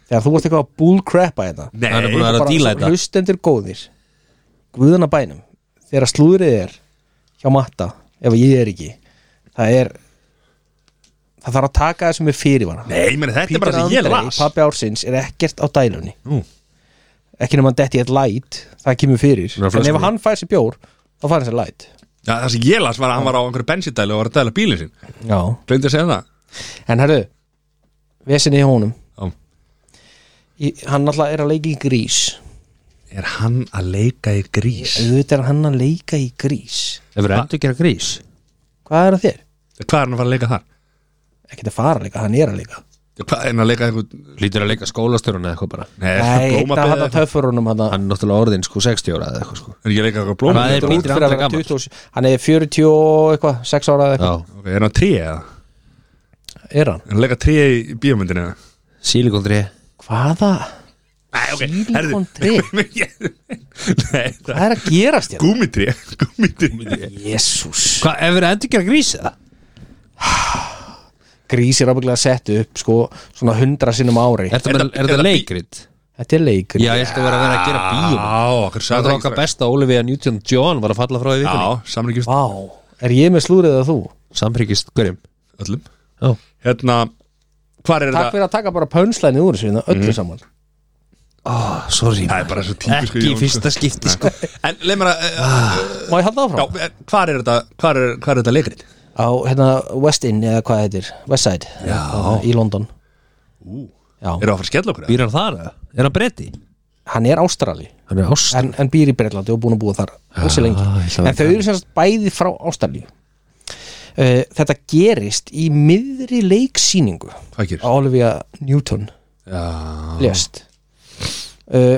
þegar þú varst eitthvað að bullcrapa þetta
Nei,
Hann er búin að vera að
Bara svo
díla þetta
hlustendur góðir guðana bænum þegar slúðrið er hjá matta ef ég er ekki það er það þarf að taka þessum með fyrirvara
Nei, meni, þetta er bara það sem ég las
pappi ársins er ekkert á dælunni
Nú.
ekki nema hann detti eitt light það kemur fyrir
Ná,
en
flöskunni.
ef hann fær sér bjór þá fær hann sér light
Já, það sem ég las var að hann var á einhverju bensindælu og var að dæla bílinn sinn
Já.
Gleimdi að segja það
en herru, vesinni í honum
Já.
í, hann alltaf er að leika í grís
Er hann að leika í grís?
auðvitað er hann að leika í grís
Það verður endur gera grís
hvað er að þér?
Hvað er hann að fara að leika þar?
ekkert að fara að leika, hann er að leika
Já, Hvað er hann að leika einhver
Lítur að leika skólastörun eða eitthvað bara
nei, einn
blómabeð
af hann að
eða eitthvað?
töffurunum hann að
Hann er náttúrulega orðin sko 60 ára eða eitthvað sko
Er ekki að leika eitthvað
Hvað
blómabeð?
er Pítur
fyrir að
Andri
vera
gamall?
20 hann er 40 og eitthvað, 6 ára eða
Já,
Ok, er hann að tríja eða?
eitthvað er hann?
Er hann að leika tríja í bíómyndinu eða?
sílikondri
hvaða?
Nei, ok,
Silicon
Nei, það
hvað er að gerast hérna? þér?
Gúmitrí Gúmitrí
jésús
Hvað, ef verður endur gera grís eða?
grís er ábygglega sett upp sko, svona 100 sinnum á ári
Er
Er
það,
það-
með-
er
er það
það
leikrit?
þetta er leikur
Já, ég ætti að vera að vera að gera bíó
Já, okkur
Það
sagði
var okkar besta Olivia Newton-John var að falla frá í vikunni
Já, samlíkjumst
vá, er ég með slúrið að þú?
Samhryggist hverjum
öllum
Já,
Hérna, hvar er
takk
þetta?
fyrir að taka bara pönslæni úr þessu hérna, öllu saman
oh, sorry
Það er bara svo típisk
Ekki í fyrsta skipti sko
En leið mér að uh,
má ég halda áfram?
Já, eh, hvar er þetta, hvar er, hvar er þetta leikrit?
á hérna West Inn eða hvað þetta er, West Side já. í London
Ú,
já.
eru að fara að skella okkur? eða?
Býr hann þar eða? Er hann bretti?
hann er ástrali
Hann er ást
en, en býr í Breitlandi og búin að búa þar hansi lengi,
ég ætla að
en þau eru semst bæði frá ástrali uh, þetta gerist í miðri leiksýningu
Hvað gerir?
að Olivia Newton
Já,
lest uh,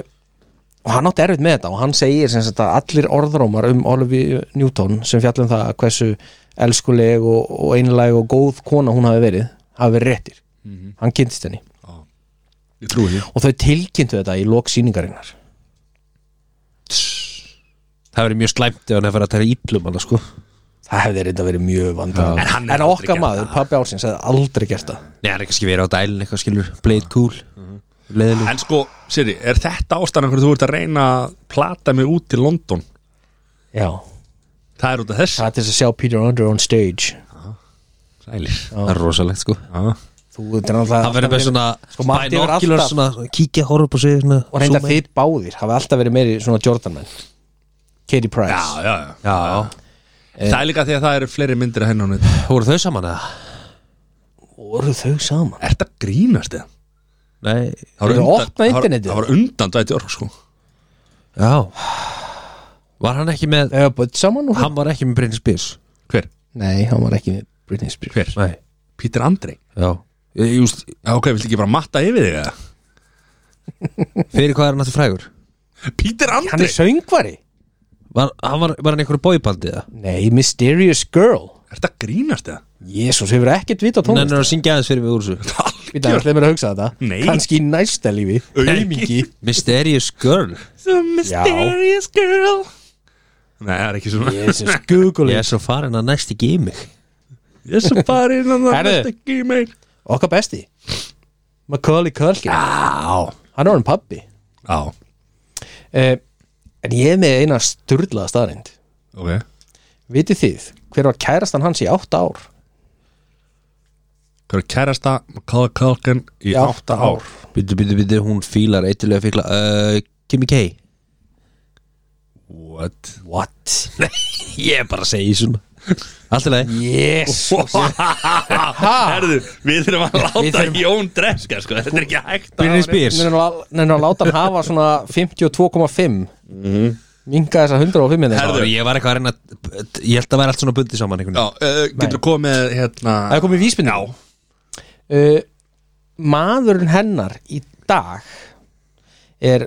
og hann átti erfitt með þetta og hann segir sem sagt að allir orðrómar um Olivia Newton sem fjallum það hversu elskuleg og, og einlæg og góð kona hún hafi verið hafi verið réttir, hann kynntist henni
ég trúi því
og þau tilkynntu þetta í lok síningarinnar
Það verður mjög slæmt ef hann er að fara að tæra íllum hann sko
það hefði reynda verið mjög vandar
En hann
en,
hefði aldrei
okkar
gert
maður, pabbi ársins, hefði aldrei gert það
Nei, hann er kannski verið á dælinn eitthvað skilur Play it cool Leðileg
En sko, Siri, er þetta ástæðan hvernig þú ert að reyna að plata mig út til London?
já,
Það er út af þess
það er til þess að sjá Peter Under on stage
Sælir
Það er rosalegt sko
þú þetta er náttúrulega
Það verður með svona
Sko, Matti hefur
binoculars,
alltaf-
svona, Kíkja, horfa upp og segja svona
og reynda
zooma
þeir báðir, hafi alltaf verið meiri svona Jordan menn Katie Price
Já, já, já
Já, já
Það er líka því að það eru fleiri myndir að henni á neitt
Voru þau saman eða?
voru þau saman
Er þetta grínast eða?
Nei
var
Eru
undan-
opna
það var-
internetið?
Það var undan dæti ork sko
Já Eh. Var hann ekki með
eða bætt saman og hann
Hann var ekki með Brynnins Bírs
Hver?
nei, hann var ekki með Britney Spears
Hver?
Nei
Pítur Andrei
Já Ég, Just
Eh, Já, ok, viltu ekki bara matta yfir þig eða?
Fyrir hvað er hann aftur frægur?
Pítur
Hann
Andri
er söngvari
Var hann, var, var hann einhverju bóibandi eða?
Nei, Mysterious Girl
Er þetta grínast eða?
Jésús, hefur ekkert vita
Hún
tónlist
er að syngja aðeins fyrir mig úr þessu
Við það ætlaði mér að hugsa þetta
Nei.
Kanski í næsta lífi
Aumingi
Mysterious Girl
The mysterious girl Nei, það er ekki svona
Jésús,
Ég
Google
er svo farin að næst ekki í mig
Ég er svo farinn að það
Herðu.
er ekki meir
Okkar besti Macaulay Culkin
Á,
Hann er hann pabbi
á,
eh, En ég er með eina sturlaða staðrind
ok
Vitið þið, hver var kærastan hans í átta ár?
Hver er kærasta Macaulay Culkin í
Í
8
átta
ár
Byttu, byttu, byttu, hún fílar eitilega fíkla uh, Kimi K
What?
What?
Ég er bara að segja svona Allt í lagi
Yes
Herðu, við þurfum að láta
Við þurfum-
Jón Dreska sko. Þetta er ekki hægt að
Britney Spears
Nei, ná að láta hann hafa svona 52,5 Minga þessa 105 hérna.
Herðu.
Herðu, ég var eitthvað að reyna að- Ég held að vera allt svona bundið saman einhvern
Já, uh, getur komið með, hérna
Það er komið vísbyrni á uh, Maðurinn hennar í dag er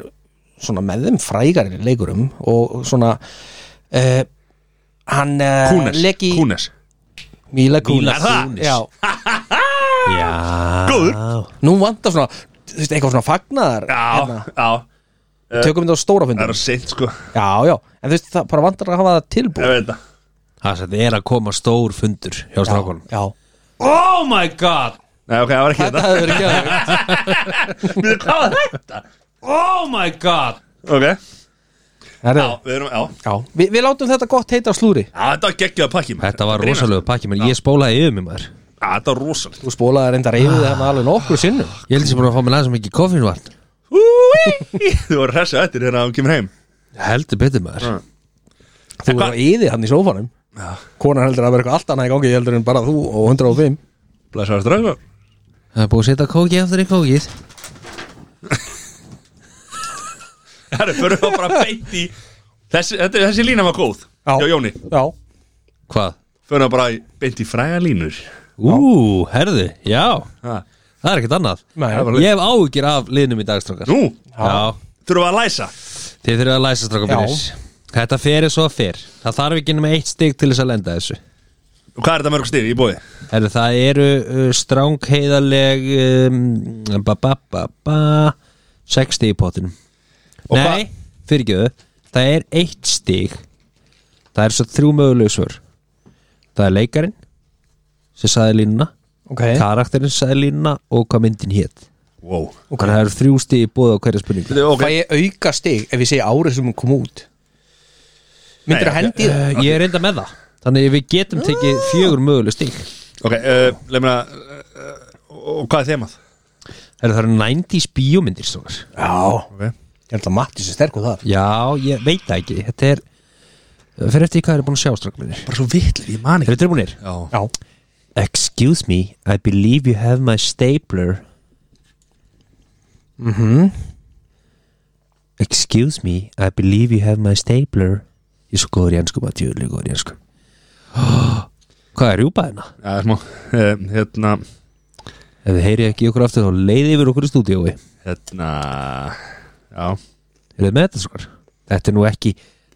svona með þeim frægari leikurum og svona uh, hann uh,
Kúnes,
leki
Kúnes
Mila
Mila
Kunis
Kunis.
Já,
veginn Já
Góður.
nú vantar svona þú veist, eitthvað svona fagnaðar
Já,
Hérna.
já,
tökum þetta á stóra
það
fundum
er seint sko
já, já, en þú veist, það bara vantar að hafa það tilbúið
Ég veit það
Það sem er að koma stór fundur hjá
já,
strákunum
já.
Oh my god
Nei, ok, það var ekki
þetta
þetta
hefur ekki að
Við erum hvað þetta
Oh my god
Ok, já,
Herðu,
við erum, já
já. Vi, við látum þetta gott heita á slúri
Já, þetta var geggjöða pakki maður.
Þetta var
Grínast.
rosalegu pakki menn ég spólaði yfir mig maður
Já, þetta var rosalega
þú spólaði reynda reyfið þarna alveg nokkur sinnum
Ég held að ég búin að fá mér aðeins mikið koffin vatn
Úi, Þú voru hressu eftir hérna að hún kemur heim
Heldur betur maður
Mm.
Þú
En
er á yði hann í sófanum
Já.
Konan heldur að vera eitthvað allt annað í gangi heldur en bara þú og 105
Blessaður sko. strafnum
Það er búið að setja kókið aftur í kókið
Herru, förum við bara beint í þessi, þetta, þessi lína var góð
Já.
Já, Jóni
Já,
Hvað?
Förum við bara í- beint í fræga línur
Ú, herðu, já
ha.
Það er ekkert annað
Nei.
Það var
Ég hef áhyggjur af liðnum í dagstrákar
Nú,
Já,
þurfum við að læsa
þið þurfum að læsa strákar
Já.
byrjus Þetta fer er svo að fer Það þarf ekki nema eitt stig til þess að lenda þessu
Og hvað er þetta mörg stig í bóði?
Herðu, það eru uh, strángheiðaleg um, ba, ba, ba, ba, 60 í potinum
Og
Nei, fyrirgjöðu Það er eitt stig Það er svo þrjú möguleg svör Það er leikarinn sem sagði línuna,
ok
karakterinn sagði línuna og hvað myndin hétt
Wow
Þannig að það eru þrjú stig í bóða á hverja spurningu
Þetta er
Fæ
ok
ég auka stig ef ég segi árið sem hún kom út
Nei,
Myndir
já,
að hendi í það?
Uh, Ég er reynda með það Þannig að við getum tekið fjögur möguleg stík
Ok, uh, leið mér að uh, uh, Og hvað er þemað?
Það eru 90s bíómyndir stókar
Já,
Ok
ég held að Matti sem sterkur þar
Já, ég veit það ekki Þetta er Það fer eftir í hvað er búin að sjá strákum minnir
Bara svo vitlega, ég man
Eru tilbúinir?
Já
Já,
Excuse me, I believe you have my stapler Mhm Excuse me, I believe you have my stapler Ég er svo góður í ennsku, maður tjóðlega góður í ennsku Hvað er rjúpað hérna?
Já, smá uh, Hérna
Ef þið heyrið ekki í okkur aftur þá leiði yfir okkur í stúdíói
Hérna Já
Er þið með þetta svokar? Þetta er nú ekki,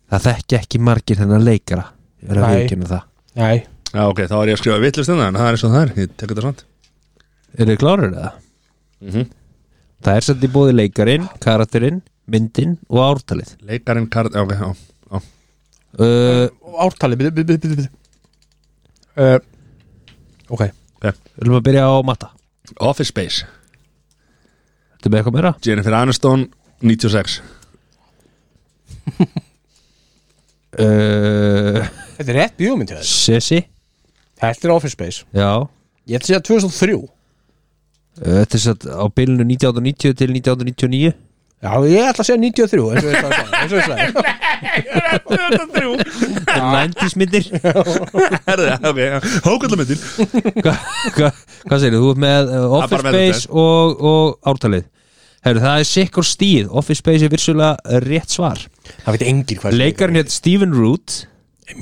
það þekki ekki margir þennan leikara Ég er að
Nei.
viðkynna það
nei
Já, ok, þá er ég að skrifa vitlust um það En það er eins og það er Ég tek þetta svont
Er þið klárir það? Það er samt í bóði leikarin, karakterinn, myndin og ártalið
Leikarinn kard Já, ok, já, já
uh,
Ártali, byrju, byrju, byrju, byrju uh, Ok,
okay.
Viljum að byrja á matta
Office Space
Þetta með eitthvað meira?
Jennifer Aniston 96
Uh,
þetta er rétt bíómynd hjá þér.
Sessi,
Þetta er Office Space
já
Ég ætla að segja 2003
Uh, Þetta er satt á bylunu 1990 til 1999
Já, ég ætla að segja 93 eins og ég sagði- eins og ég sagði.
90s myndir
Herðu, ok, hákallamindin
Hva- hva- Hvað segir þú? ert með uh, Office
bara með
Space og, og ártalið Herru, það er sikkur stíð Office Space er virsulega rétt svar
Það veit engin hvað
Leikarinn hétt Stephen Root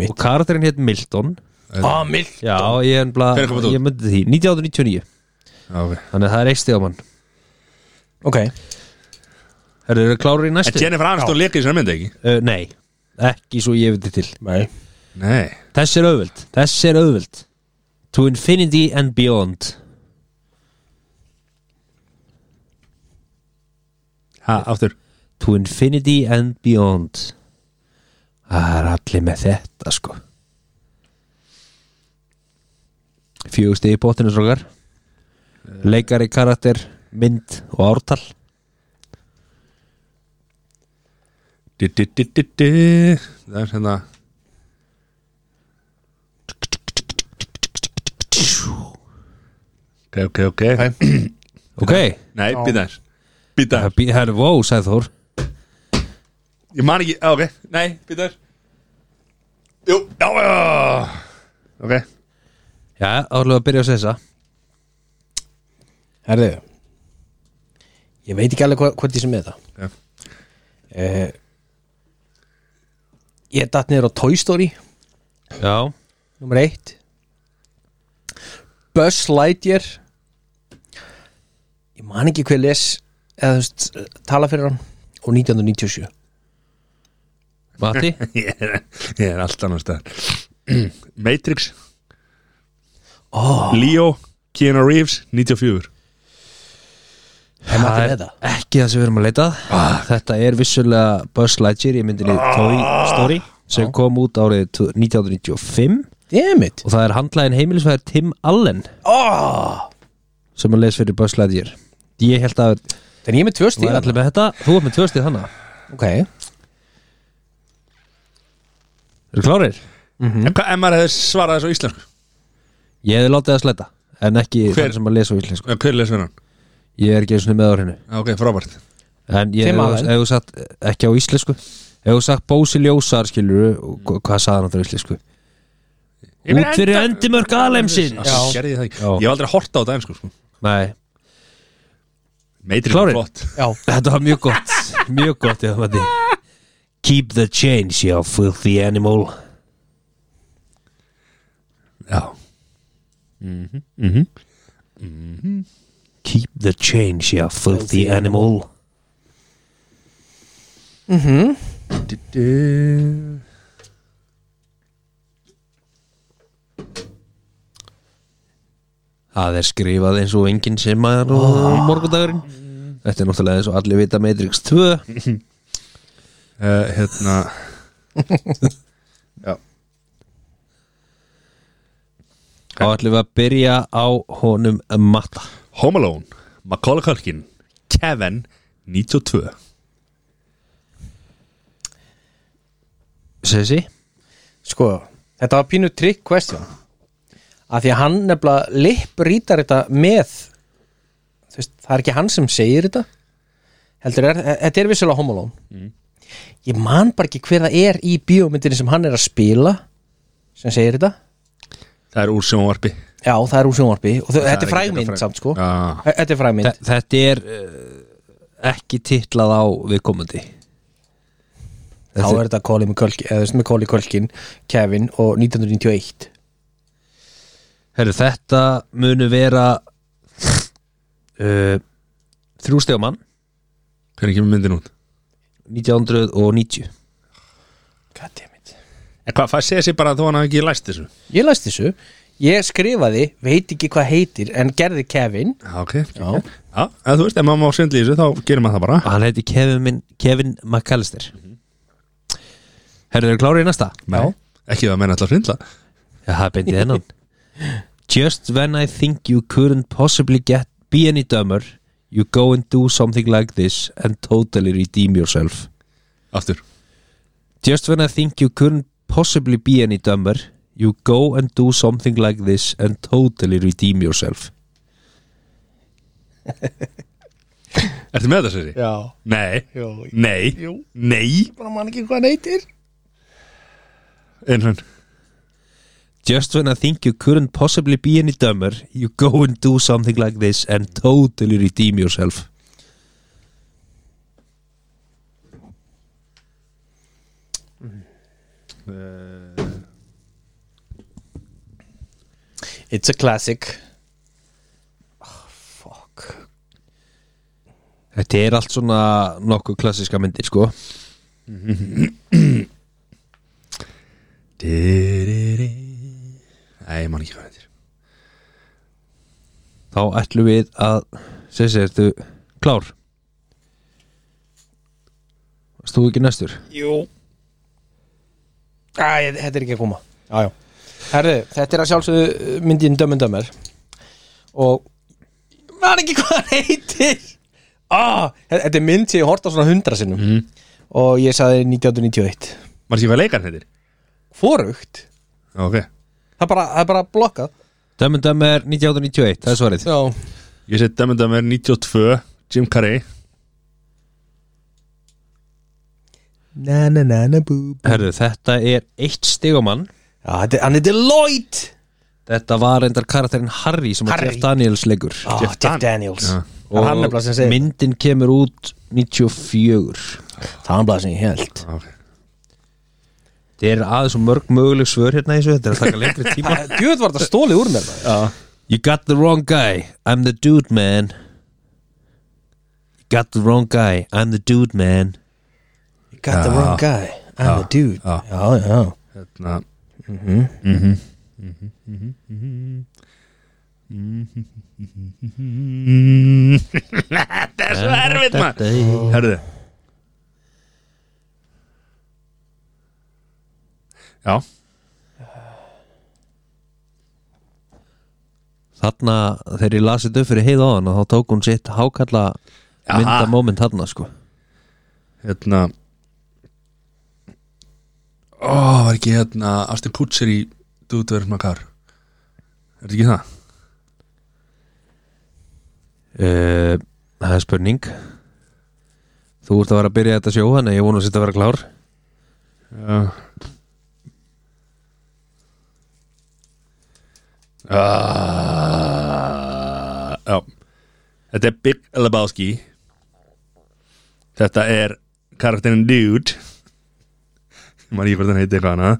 og karakterinn hétt Milton
Ah, mild
Já, ég, er nefnilega-
Hvenær kom þetta út?
ég myndi því 1999,
okay.
þannig að það er eitt stíð á mann
Ok,
Herðu, eru klárir í
En
næstu?
Jennifer Aniston leika í sér myndi ekki
Uh, nei, ekki svo ég veit til
Nei
Nei
Þess er auðvöld, þess er auðvöld To infinity and beyond
Ha, aftur
To infinity and beyond Það er allir með þetta sko Fjögusti í bóttinu strókar Leikari karakter, mynd og ártal
Di, di, di, di, di. Það er hérna Ok, ok, ok
Ok,
Nei, býta þess Býta
það er herri, wow, sagði Þór
Ég man ekki, á, ok, nei, býta þér Jú, já, já Ok,
Já, álega að byrja á þessa
Herðu Ég veit ekki alveg hva, hvort ég sem með það
Já.
Eh, Ég datt niður á Toy Story
Já,
Númer eitt Buzz Lightyear Ég man ekki hver les eða þú veist, tala fyrir hann og 1997
Matti
ég er, ég er allt annars það Matrix
Ó,
Leo, Keanu Reeves, 94
er maður með það?
ekki það sem við erum að leita að. Þetta er vissulega Buzz Lightyear í myndinni Toy Story sem kom út árið 1995
Damn it
og það er handlæðin heimilisvæður Tim Allen Ah.
oh.
sem að les fyrir Buzz Lightyear Ég held að
Þannig ég er með tvö
það er
stíð
allir með þetta Þú ert með tvö stíð þannig
Ok
Eru klárir?
En hvað, ef maður hefði svarað þessu á íslensku?
Ég hefði látið að sletta en ekki
Hver?
þannig sem að lesa á íslensku
Eh, Hver lesur hann?
Ég er ekki eins og með á hennu
Ah, Ok, frábært
En ég
Tim
hefði
Allen.
hef þú sagt eh, ekki á íslensku Hefði þú sagt Bósi Ljósar skilur og hvað sagði hann á íslensku? Út fyrir endimörk alemsins
Já, gerði ég það ekki
Já.
Ég hef aldrei hort á þetta einsku sko.
Nei,
Matrix
Klárir?
er flott
Já
Þetta var mjög gott Mjög gott já, Matti. Keep the change, you filthy animal
Já
Mhm, Keep the change, you Mhm. filthy animal
Du- du.
Það er skrifað eins og enginn sem er á morgundagurinn Þetta er náttúrulega eins og allir vita Matrix 2
Eh, Hérna Já
Þá ætlum við að byrja á honum matta
Home Alone, Macaulay Culkin Kevin, 92
Sessi
Sko Þetta var pínu trick question Af því að hann nefnilega lipp rítar þetta með þú veist, Það er ekki hann sem segir þetta Heldur er Þetta er vissulega homolón mm. Ég man bara ekki hver það er í bíómyndinni sem hann er að spila sem segir þetta
Það er úr sjónvarpi
Já, það er úr sjónvarpi og þau, þetta
er
er
ekki
frægmynd
þetta fræg-
samt sko
Já.
Þetta er frægmynd
Þetta er uh, ekki titlað á viðkomandi
Þá er þetta Colin McCulkin, eða, þú veist, Macaulay Culkin Kevin og 1991
Herru, þetta munu vera uh, Þrjústegumann
Hvernig kemur myndin út?
1990
God damn it
En hvað, það segja sér bara að þú hann hafi ekki læst þessu
Ég læst þessu, ég skrifaði veit ekki hvað heitir, en gerði Kevin
Já, ok Já, en þú veist, ef maður má svindla í þessu þá gerir maður það bara
Hann heiti Kevin, Kevin McAllister Herðu, eru klárið í næsta?
Nei, ekki það að menna alltaf svindla
Já, það er beintið hennan Just when I think you couldn't possibly get be any dumber You go and do something like this and totally redeem yourself
Aftur
Just when I think you couldn't possibly be any dumber You go and do something like this and totally redeem yourself
Ertu með það, Sessi?
Já,
Nei,
Jú.
nei,
Jú.
nei
bara man ekki hvað hann heitir
Einhvern
Just when I think you couldn't possibly be any dumber You go and do something like this and totally redeem yourself
Ah, It's a classic oh, Fuck
Þetta er allt svona nokkuð klassíska myndir sko
Diriri. Nei, ég man ekki hvað þetta er
Þá ætlum við að Sessi, ertu klár? Varst þú ekki næstur?
Jú Æ, ég- þetta er ekki að koma Jájá Herðu, þetta er að sjálfsögðu uh, myndin Dömmen Dömmer Og Ég Man ekki hvað hann heitir ah, Þetta er mynd sem ég horta svona hundra sinnum Og ég saði 1991
Var ekki hvað leikarn þetta er?
Fórugt
Ok
Það er bara, það er bara blokkað
Dömmen Dömmer 1991, það er svarið
Já
Ég seti dæmenda mér 92 Jim Carrey
Na na na na bú bú.
Herðu, þetta er eitt stigamann
Já, þetta er, hann er Deloitte
Þetta var endar karakterinn Harry sem
Harry.
að Jeff Daniels leikur
ah,
Jeff
Jeff,
Dan-
Daniels
Já.
Það er hann nefnilega sem segir
myndin kemur út 94
Það er hann nefnilega sem ég held
Ok
Þetta er aðeins og mörg möguleg svör hérna í þessu Þetta er að taka lengri tíma
Gjöð var þetta stólið úr mér maður.
You got the wrong guy, I'm the dude man You got the wrong guy, I'm the dude man
You got the wrong guy I'm the dude
Já.
já, já.
Hérna Mhm. Þetta er svo erfitt maður Herðu Já,
Þarna, þegar ég lasið upp fyrir heið á hann þá tók hún sitt hákalla
Jaha.
myndamóment þarna sko
hérna Ó, var ekki hérna Austin Kutcher í Dúdverð Makar Er þetta ekki það?
uh, Það er spurning Þú ert að vera að byrja þetta sjó en ég vona að þetta vera klár
Já Ah, Já Þetta er Big Lebowski Þetta er karakterinn Dude Ég man ekki hvort hann heiti eitthvað hana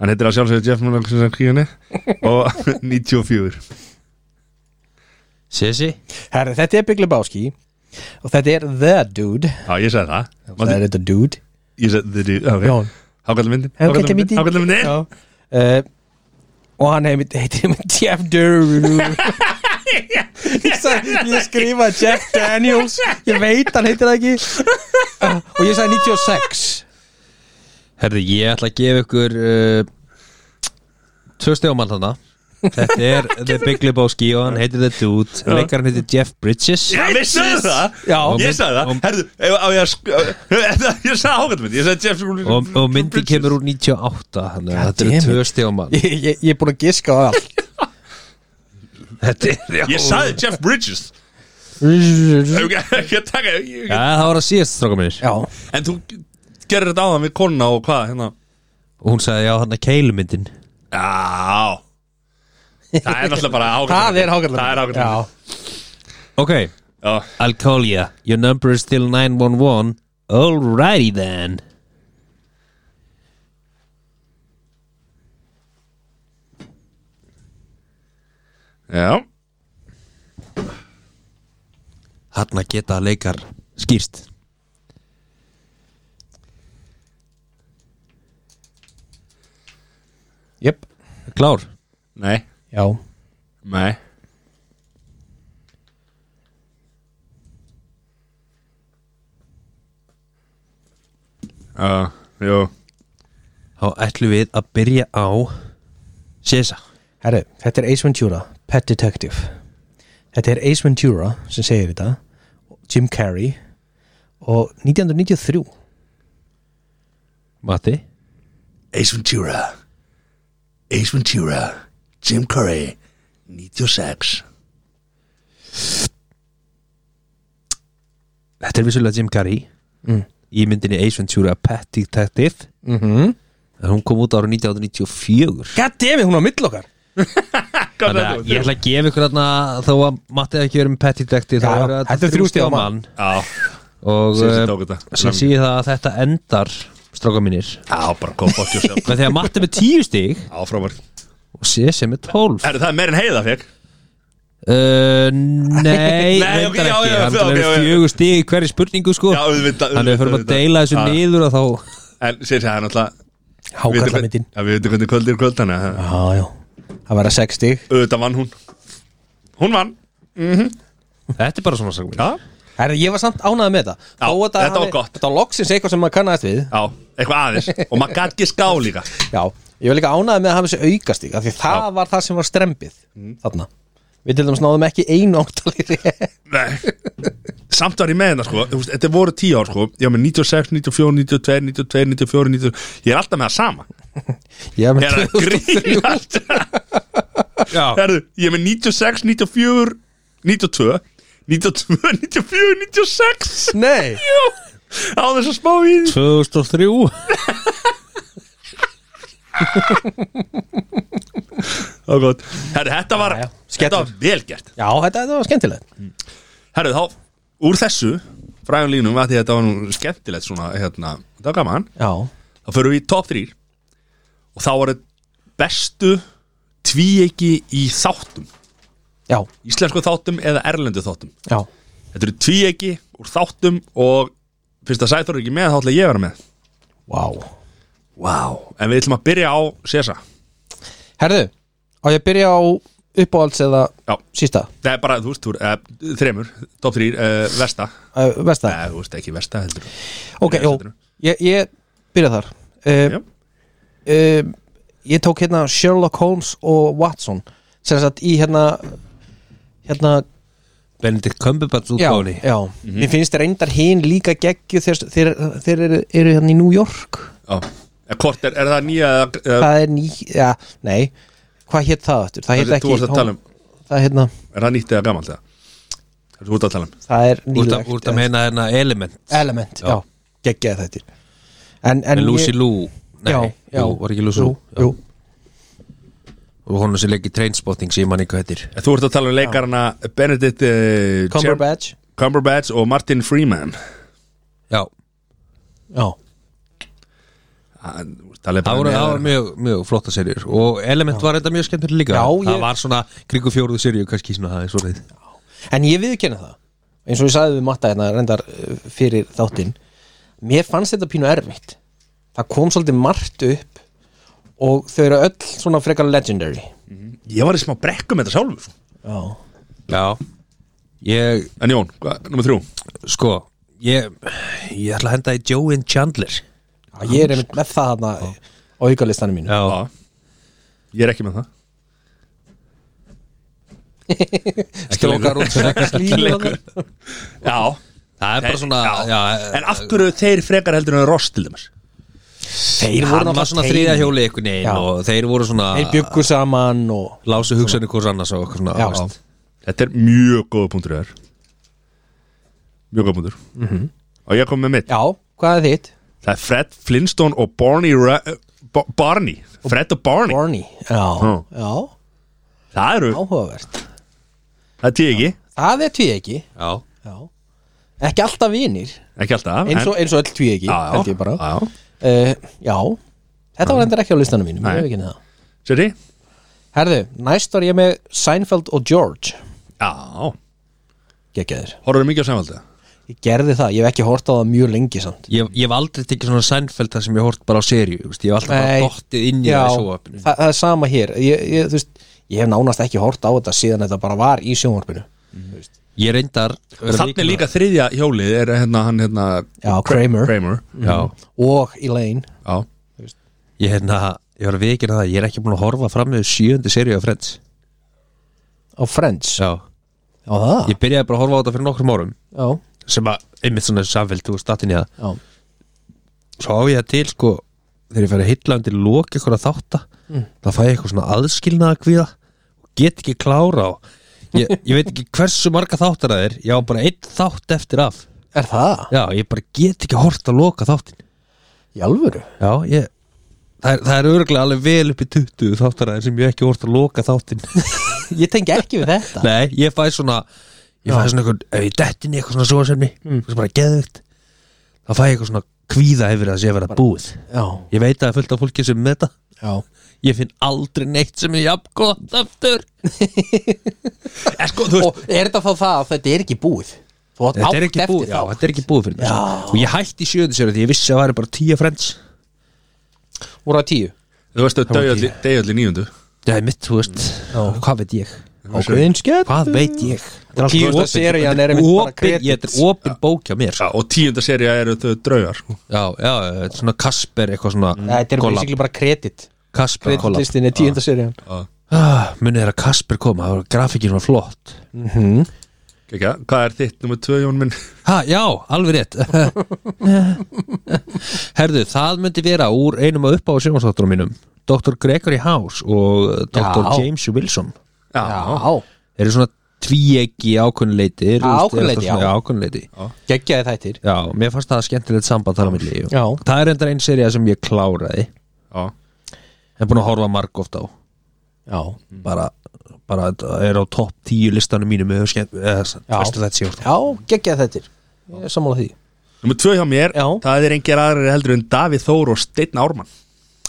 Hann heitir að sjálfsögðu Jeff Mullanksson og 94
Sessi?
Herri, þetta er Big Lebowski og þetta er The Dude
Já, ég sagði það
það
Manstu-
er þetta Dude
Ég sagði The Dude
Já.
okay. Hákallar myndin
Ágætlega myndin.
Hákallar myndin
Já. Eh, og hann heimitt heitir heimitt Jeff Dude ég, sagði, ég skrifa Jeff Daniels ég veit hann heitir það ekki Eh, og ég sagði 96
Herði, ég ætla að gefa ykkur uh, Tvö stjómann þarna Þetta er The Big Lebowski og hann heitir The Dude Leikar hann heitir Jeff Bridges
Já, vissu það
já,
Og
Ég
mynd-
sagði það,
og-
herðu, ef á ég að sk- Ég sagði ágætmynd, ég sagði Jeff
og, og myndin kemur úr 98 þannig
God
að þetta eru
damn
tvö
it.
stjómann
ég, ég, ég er búin að giska á allt
Þetta er já.
Ég sagði Jeff Bridges
já,
Ef ekki- ekki að taka ég-
Já, það var að síðast stráka minnir
En þú gerir þetta áðan við konuna og hvað hérna
og hún sagði já, hann er keilumyndin
Já Það er náttúrulega bara ágætmynd
það er hákallar
Það er ágætmynd
já,
Ok,
Já,
I'll call ya Your number is still 911 Alrighty then
já
Hanna geta leikar skýrst
jöp
Klár
Nei,
já,
nei Já, jú
Þá ætlum við að byrja á Sesa
herru, þetta er Ace Ventura Pet Detective þetta er Ace Ventura sem segir þetta Jim Carrey og 1993
Matti
Ace Ventura Ace Ventura Jim Curry 96
Þetta er vissulega Jim Carrey
Mm.
Í myndinni Ace Ventura Pet Detective
mhm mm
en Hún kom út ára 1994
God damn it, hún á mill okkar
Þannig að ég ætla að gefa ykkur þarna Þó að Matti hafi ekki verið með Pet Detective
Já,
þá er
þetta er þrjú stiga mann.
Já,
Og
Sessi
eh,
tók þetta.
sem síði það að þetta endar Stráka mínir
já bara go fuck yourself
Með því að Matti er með tíu stig
Áframar
Og Sesi með tólf
Herru, það er meir en heiða fekk
Uh, nei,
Nei,
reyndar
ok, já,
ekki
já,
Hann
já,
er
ok, ok.
fjögur stig í hverju spurningu sko
Já, auðvitað,
Þannig við förum að
auðvitað,
deila þessu
auðvitað. Já.
niður og þá
En sér það er náttúrulega við vitum
Hákalla myndin
hvern- Já, við veitum hvernig kvöld er kvöld Þannig að
Já, já Það verða 6 stig
auðvitað vann hún Hún vann
Þetta er bara svona sagði.
Já,
Herra, ég var samt ánægð með þetta
Já,
Þó að
þetta var
hafi-
gott.
Þetta var loksins eitthvað sem maður kannast við
já eitthvað aðeins Og maður gæti ekki ská líka
Já, ég var líka ánægð með að hafa þessi aukastík af Því það var það sem var strempið
Mm.
Þarna Við til dæmis náðum ekki einu áttalýri
Nei Samt var ég með þetta sko þú veist, Þetta voru tíu ár sko Ég var með 96, 94, 92, 92, 94, 94 Ég er alltaf með það sama
Ég
Ég
er með
er að
2003
grínast Herðu, ég er með 96, 94, 92 92, 94, 96
Nei
Jú Á þess að smá í því
2003
Ó, gott. Herru, þetta var,
Já, já.
þetta var vel gert
Já, þetta, þetta var skemmtilegt
Herru, þá Úr þessu Fræðan línum að því að þetta var nú skemmtilegt svona hérna, Þetta var gaman
Já
Þá förum við í top 3 Og þá var þetta bestu Tvíegi í þáttum
Já,
Íslensku þáttum eða erlendu þáttum
já
Þetta eru tvíegi úr þáttum Og fyrst að Sæþór er ekki með Þá ætla ég að vera með
Vá
wow. En við ætlum að byrja á Sesa
Herðu, á ég að byrja á uppáhalds eða
Já.
sísta
Það er bara, þú veist, þú er, eh, þremur Top 3, uh, Vesta
uh, Vesta
Nei, þú veist ekki Vesta heldur
Ok,
Byrja
jú,
setinu.
ég, ég byrja þar uh,
Já.
uh, Ég tók hérna Sherlock Holmes og Watson sem sagt í hérna hérna,
Benedikt Cumberbatch
já,
útgáni
já
Mhm.
Mér finnst reyndar hinn líka geggju þegar þeir, þeir eru, eru hérna í New York
Já Eh, Hvort er, er það nýja eða- eða-
Það er ný, já, nei Hvað hétt það aftur? Það hétt
Þú
ekki
varst að tala um,
Það, er hérna,
er það nýtt eða gamalt eða? Það er út að tala um
það er
Úr
nýlegt
það- úr það meina hérna element
Element, já, já geggjaði þetta En, en
En Lucy
ég-
Lou Nei,
já, já,
Jú, var ekki Lucy Lou
Jú, jú.
Og honum sem leikir trainspotting sem ég mann eitthvað heitir
Þú ert að tala um leikarana Benedict uh,
Cumberbatch
Cumberbatch og Martin Freeman
Já,
Já,
Það það er
það
bara
voru, það
neðar.
voru mjög, mjög flotta serjur Og element var þetta mjög skemmtileg líka
Já, ég-
Það var svona kringu fjóruðu serju kannski svona það er svona
En ég viðkenna það eins og ég sagði við matta hérna reyndar uh, fyrir þáttinn mér fannst þetta pínu erfitt það kom svolítið margt upp og þau eru öll svona frekar legendary
Ég var í smá brekku með þetta sjálfur sko.
Já,
Já Ég,
En Jón, hvað, nummer þrjú
sko Ég, ég ætla að henda í Joey and Chandler
ég er einmitt með það hérna á aukalistanum mínu
Já,
Ég er ekki með það
Strókar út sex línu þarna.
Já,
það er bara svona
já.
já,
En af hverju þeir frekar heldur en Ross til dæmis
Þeir voru
Hann var svona þriðja hjóli einhvern
Já.
veginn Og þeir voru svona
Þeir byggu saman og
Lásu hugsanir hvors annars og eitthvað svona
Já.
veist.
Þetta er mjög góða punktur þér Mjög góða punktur
Mhm.
Og ég kom með mitt
Já, hvað er þitt?
Það er Fred Flintstone og Barney Ra Bo- Barney Fred og Barney
Barney Já,
Já.
já,
Það eru,
áhugavert
það er tíu ekki
Það er tví ekki
Já
Já Ekki alltaf vinir
Ekki alltaf
eins og, eins og öll tví ekki
já, já,
held ég bara
já, já.
uh, Já, þetta var endur ekki á listanum mínum
Nei.
Ég hef ekki það
Sér því?
Herðu, næst var ég með Seinfeld og George
Já
Gekkaðir
Horfður mikið á samvaldi?
Ég gerði það, ég hef ekki hort á það mjög lengi samt
Ég, ég hef aldrei tekið svona sænfeld þar sem ég hort bara á serju Ég hef alltaf
Nei.
bara dottið inn í
Já,
það í
það,
sjóapinu
það er sama hér ég, ég, þú veist, ég hef nánast ekki hort á þetta síðan þetta bara var í sjónvarpinu
Ég reyndar
Þannig líka þriðja hjólið er hérna hann hérna
Já, Kramer.
Kramer
Já,
Og Elaine
Já
ég hérna Ég var að vikina það, ég er ekki búin að horfa fram með sjöundu serju af Friends
á Friends Já,
Já,
það
ég byrjaði bara að horfa á þetta fyrir nokkrum árum
Já,
sem að, einmitt svona samfélg, þú stattin í það
já,
Svo á ég það til, sko þegar ég færi að hylla undir loki eitthvað að þátta þá fæ ég eitthvað svona aðskilnaða kvíða og get ekki klára á ég, ég veit ekki hversu marga þáttar það er ég á bara einn þátt eftir af
er það?
Já, ég bara get ekki hort að loka þáttin
Í alvöru?
Já, ég Það er, það er örgulega alveg vel upp í 20 þáttaræðir sem ég ekki hort að loka þáttin
Ég tengi ekki við þetta
Nei, ég fæ svona Ég fæ svona eitthvað, ef ég dettin eitthvað svona svo sem mig mm. sem bara geðvikt þá fæ ég eitthvað svona kvíða yfir að sé vera búið
Já,
Ég veit að það er fullt af fólki sem er með þetta
já,
ég finn aldrei neitt sem er jafn gott aftur en sko, þú veist
og er þetta þá það að þetta er ekki búið þú átt
þetta er,
átt
ekki
eftir
búið, já,
þá
þetta er ekki búið fyrir mér sko.
Já.
og ég hætti í sjöðu sér því ég vissi að það væri bara tíu friends
voru það tíu
Þú veist að
var
degja
ekki-
allir degja allir níundu
það er mitt, þú veist, hvað veit ég
ákveðin skett
hvað veit ég
er allt góð serían er einmitt bara
opin, ég þetta
credits.
er opin bókja mér sko.
Já, og tíunda serja eru þau draugar sko.
já, já, þetta er svona Kasper eitthvað svona
þetta er
collab.
basically bara kredit
Kasper collab.
kreditlistin er tíunda serían
ah, munið er að Kasper koma, það var grafíkin var flott
Kekja, Hvað er þitt nummer tvö, Jón minn?
Ha, já, alveg rétt Herðu, það myndi vera úr einum að uppá sjónvarsdótturum mínum Dr. Gregory House og Dr.
Já.
James Wilson
Já,
já
Þeir eru svona tvíegi ákunnuleiti
Já, ákveðnuleyti, já.
Já, ákunnuleiti
geggjaði þættir
Já, mér fannst það skemmtilegt samband þar á milli
Já.
Það er enda einn serið sem ég kláraði
já.
En búin að horfa marg oft á
já
Bara, bara þetta er á topp tíu listanum mínum Eða skemmt, eða, veistu þetta sé
já geggjaði þættir ég er sammála því
Nummer tvö hjá mér,
Já.
það er engir aðrir heldur en Davíð Þór og Steinn Ármann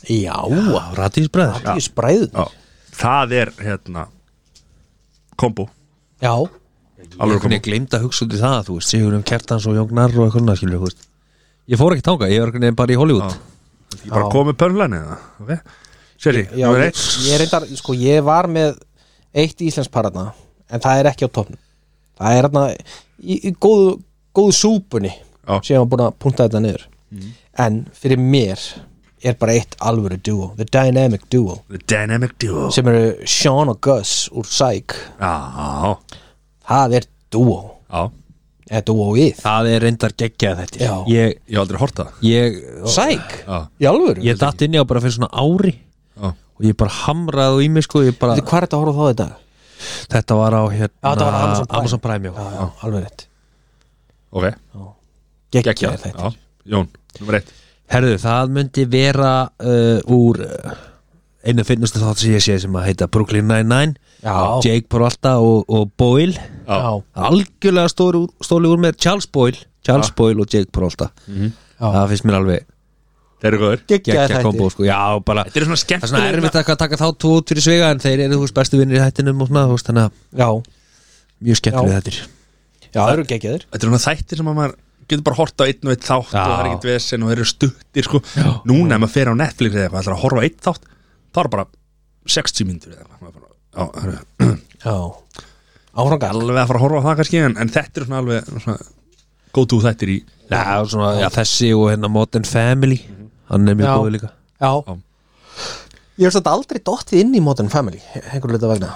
já
Radísbræður
allir spræðun
já. Það er hérna kombo,
já
alveg kombo
Ég glemd að hugsa út í það, þú veist Sigurum Kjartans og Jóngnar og eitthvað svona, skilur, þú veist Ég fór ekki tanga, ég var ekki nefn bara í Hollywood
Ég bara komið pönlæni það okay. Seri,
já
nummer
ég,
eitt
ég reyndar sko ég var með eitt íslensk paratna en það er ekki á topnum það er hérna í, í góðu góðu súpunni
Já.
sem ég var búin að punta þetta niður
Mm.
en fyrir mér er bara eitt alvöru duo the dynamic duo
The Dynamic Duo
sem eru Sean og Gus úr Psych
Já,
það er duo
já
eða duoið
Það er reyndar geggjað þetta
Já.
Ég,
Ég hef aldrei hort það
ég,
Psych?
Já.
í alvöru?
ég datt inn í á bara fyrir svona ári
Já.
Og ég bara hamraði á í mig, sko ég bara,
Veitu, hvað er þetta að horfa á þá í dag?
Þetta var á hérna
Já, þetta var á Amazon Prime.
Amazon Prime, já
Já, já, alveg rétt
Ok,
Gekkja
gekkja
þetta
Jón, nummer eitt
Herðu, það myndi vera uh, úr uh, einu finnustu þátt sem ég sé sem að heita Brooklyn Nine-Nine
Já.
Jake Peralta og, og Boyle
Já,
algjörlega stóri, stóli úr með Charles Boyle Charles Boyle og Jake Peralta það finnst mér alveg
Þeir eru góður
Geggjaðir
geggja
þættir.
kombo sko. já, bara,
Þetta eru svona
það er svona
skemmtilega
erfitt að taka þá tvo út fyrir svega en þeir eru þú veist bestu vinnir í hættinum og svona, þú veist, þannig að
já,
mjög
Já.
skemmtilega þetta er
já, það eru geggjaðir
Þetta eru svona þættir sem að maður getur bara hort á einn og einn þátt
Já.
og það er ekkert vesen og þeir eru stuttir sko. Núna ef maður fer á Netflix eða eitthvað ætlar að horfa á einn þátt þá er bara 60 myndur eða eitthvað Maður bara, Já, það eru
Já, áfrangar
alveg að fara að horfa á það kannski en, en þetta eru svona alveg svona, go to þættir í
já, og svona, já, þessi og hérna Modern Family hann er mjög
Já.
góð líka
Já Ég hef svolítið aldrei dottið inn í Modern Family einhverju hluta vegna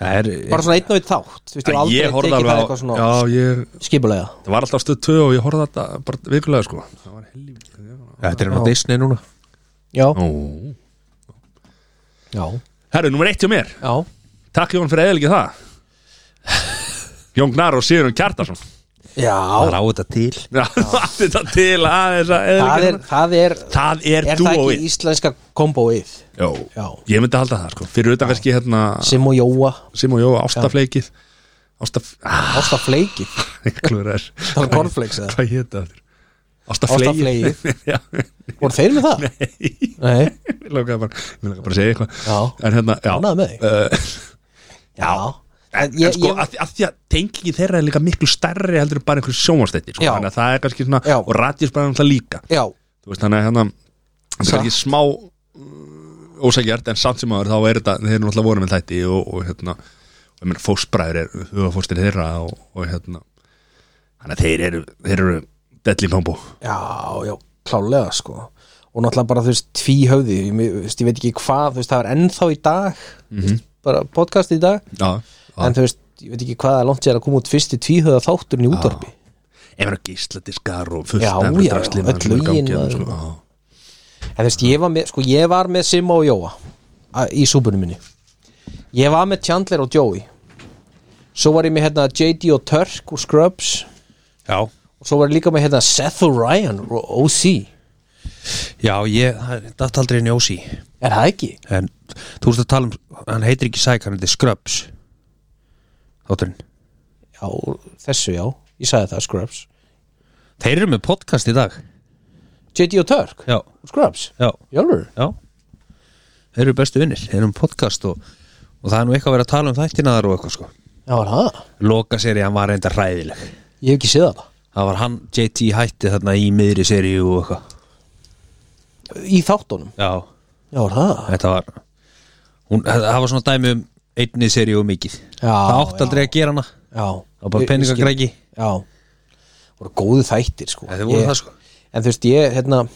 það er,
Bara svona einn og einn þátt Þú veist, ég hef
Ég
aldrei
horfði
tekið það
alveg á
eitthvað svona
Já, ég
skipulega
Það var alltaf stöð 2 og ég horfði þetta bara vikulega sko Það var helvík
þetta er hann á Disney núna
Já,
Ó.
já,
Herru, nummer eitt hjá mér
já
Takk Jón fyrir eðalegi það Jón Gnar og Sigurinn Kjartarsson
Já,
það á þetta til
Já, allt þetta til aðeins að
það
eðalegi
er, það er
Það er
Er það
dúóið
ekki íslenska komboið
Jó,
Já.
ég myndi halda það sko Fyrir utan kannski hérna
Sim og Jóa,
Sim og Jó, ástafleikið Ástaf... Ah,
Ásta Fleiki
einhver er
Það var cornflakes eða
Hvað hétt það?
Ástaflegið.
Ástafleikið Já,
Voru þeir með það?
nei
Nei,
Mér langaði bara, mér langaði bara að segja eitthvað
Já.
En hérna, já
Ánægður með þig.
uh,
já
En,
ég-
en sko,
ég-
ég, að, því að tengingi þeirra er líka miklu stærri heldur en bara einhver sjónvastættir sko,
Já.
þannig að það er kannski svona,
Já.
og radíus bara náttúrulega líka
Já,
þú veist, þannig að hérna það er
Satt.
kannski smá uh, ósækjart en samt sem aður þá er þetta, þeir eru náttúrulega voru með þætti og, og hérna og ég meina fósbræður er hugafóstir þeirra og, og hérna þannig að þeir eru, þeir eru deadly pombo
Já, já, klálega sko og náttúrulega bara þú veist tví höfði ég, me- þú veist, ég veit ekki hvað, þú veist það er ennþá í dag mm -hmm. bara podcast í dag
já, já.
en þú veist, ég veit ekki hvað það er langt sér að koma út fyrsti tví höfða þátturinn í útvarpi
ef eru gísladiskar og fullt
Já,
af
já,
draslinu
öll
sem er í gangi
lögin,
hérna,
maður.
sko, já.
en þú veist, ég var með, sko, ég var með Simma og Jóa a, í súbunum minni ég var með Chandler og Joey svo var ég með hérna JD og Turk úr Scrubs
já,
og svo var ég líka með hérna Seth O'Ryan og OC
já, ég, það er datt aldrei inn í Ósi
er það ekki?
en þú veist að tala um hann heitir ekki Sæk, hann heitir Scrubs þátturinn
Já, þessu já, ég sagði það Scrubs
þeir eru með podcast í dag
JD og Turk
já,
úr Scrubs
já,
Jálfur
já þeir eru bestu vinnir, þeir eru um podcast og, og það er nú eitthvað að vera að tala um þættinaðar og eitthvað sko
Já, var það?
Loka seri, hann var reynda hræðileg
Ég hef ekki séð það
Það var hann, JT hætti þarna í miðri seri og eitthvað
Í þáttunum
Já,
Já, var það?
þetta var hún, það var svona dæmi um einni seri og mikið
Já,
Það átt
já.
aldrei að gera hana
Já
Það var bara
Ég- ég skil.
peningagræki.
Já voru góðu þættir sko
Ja, þeir voru
Ég-
það, sko.
En þú veist, ég, hérna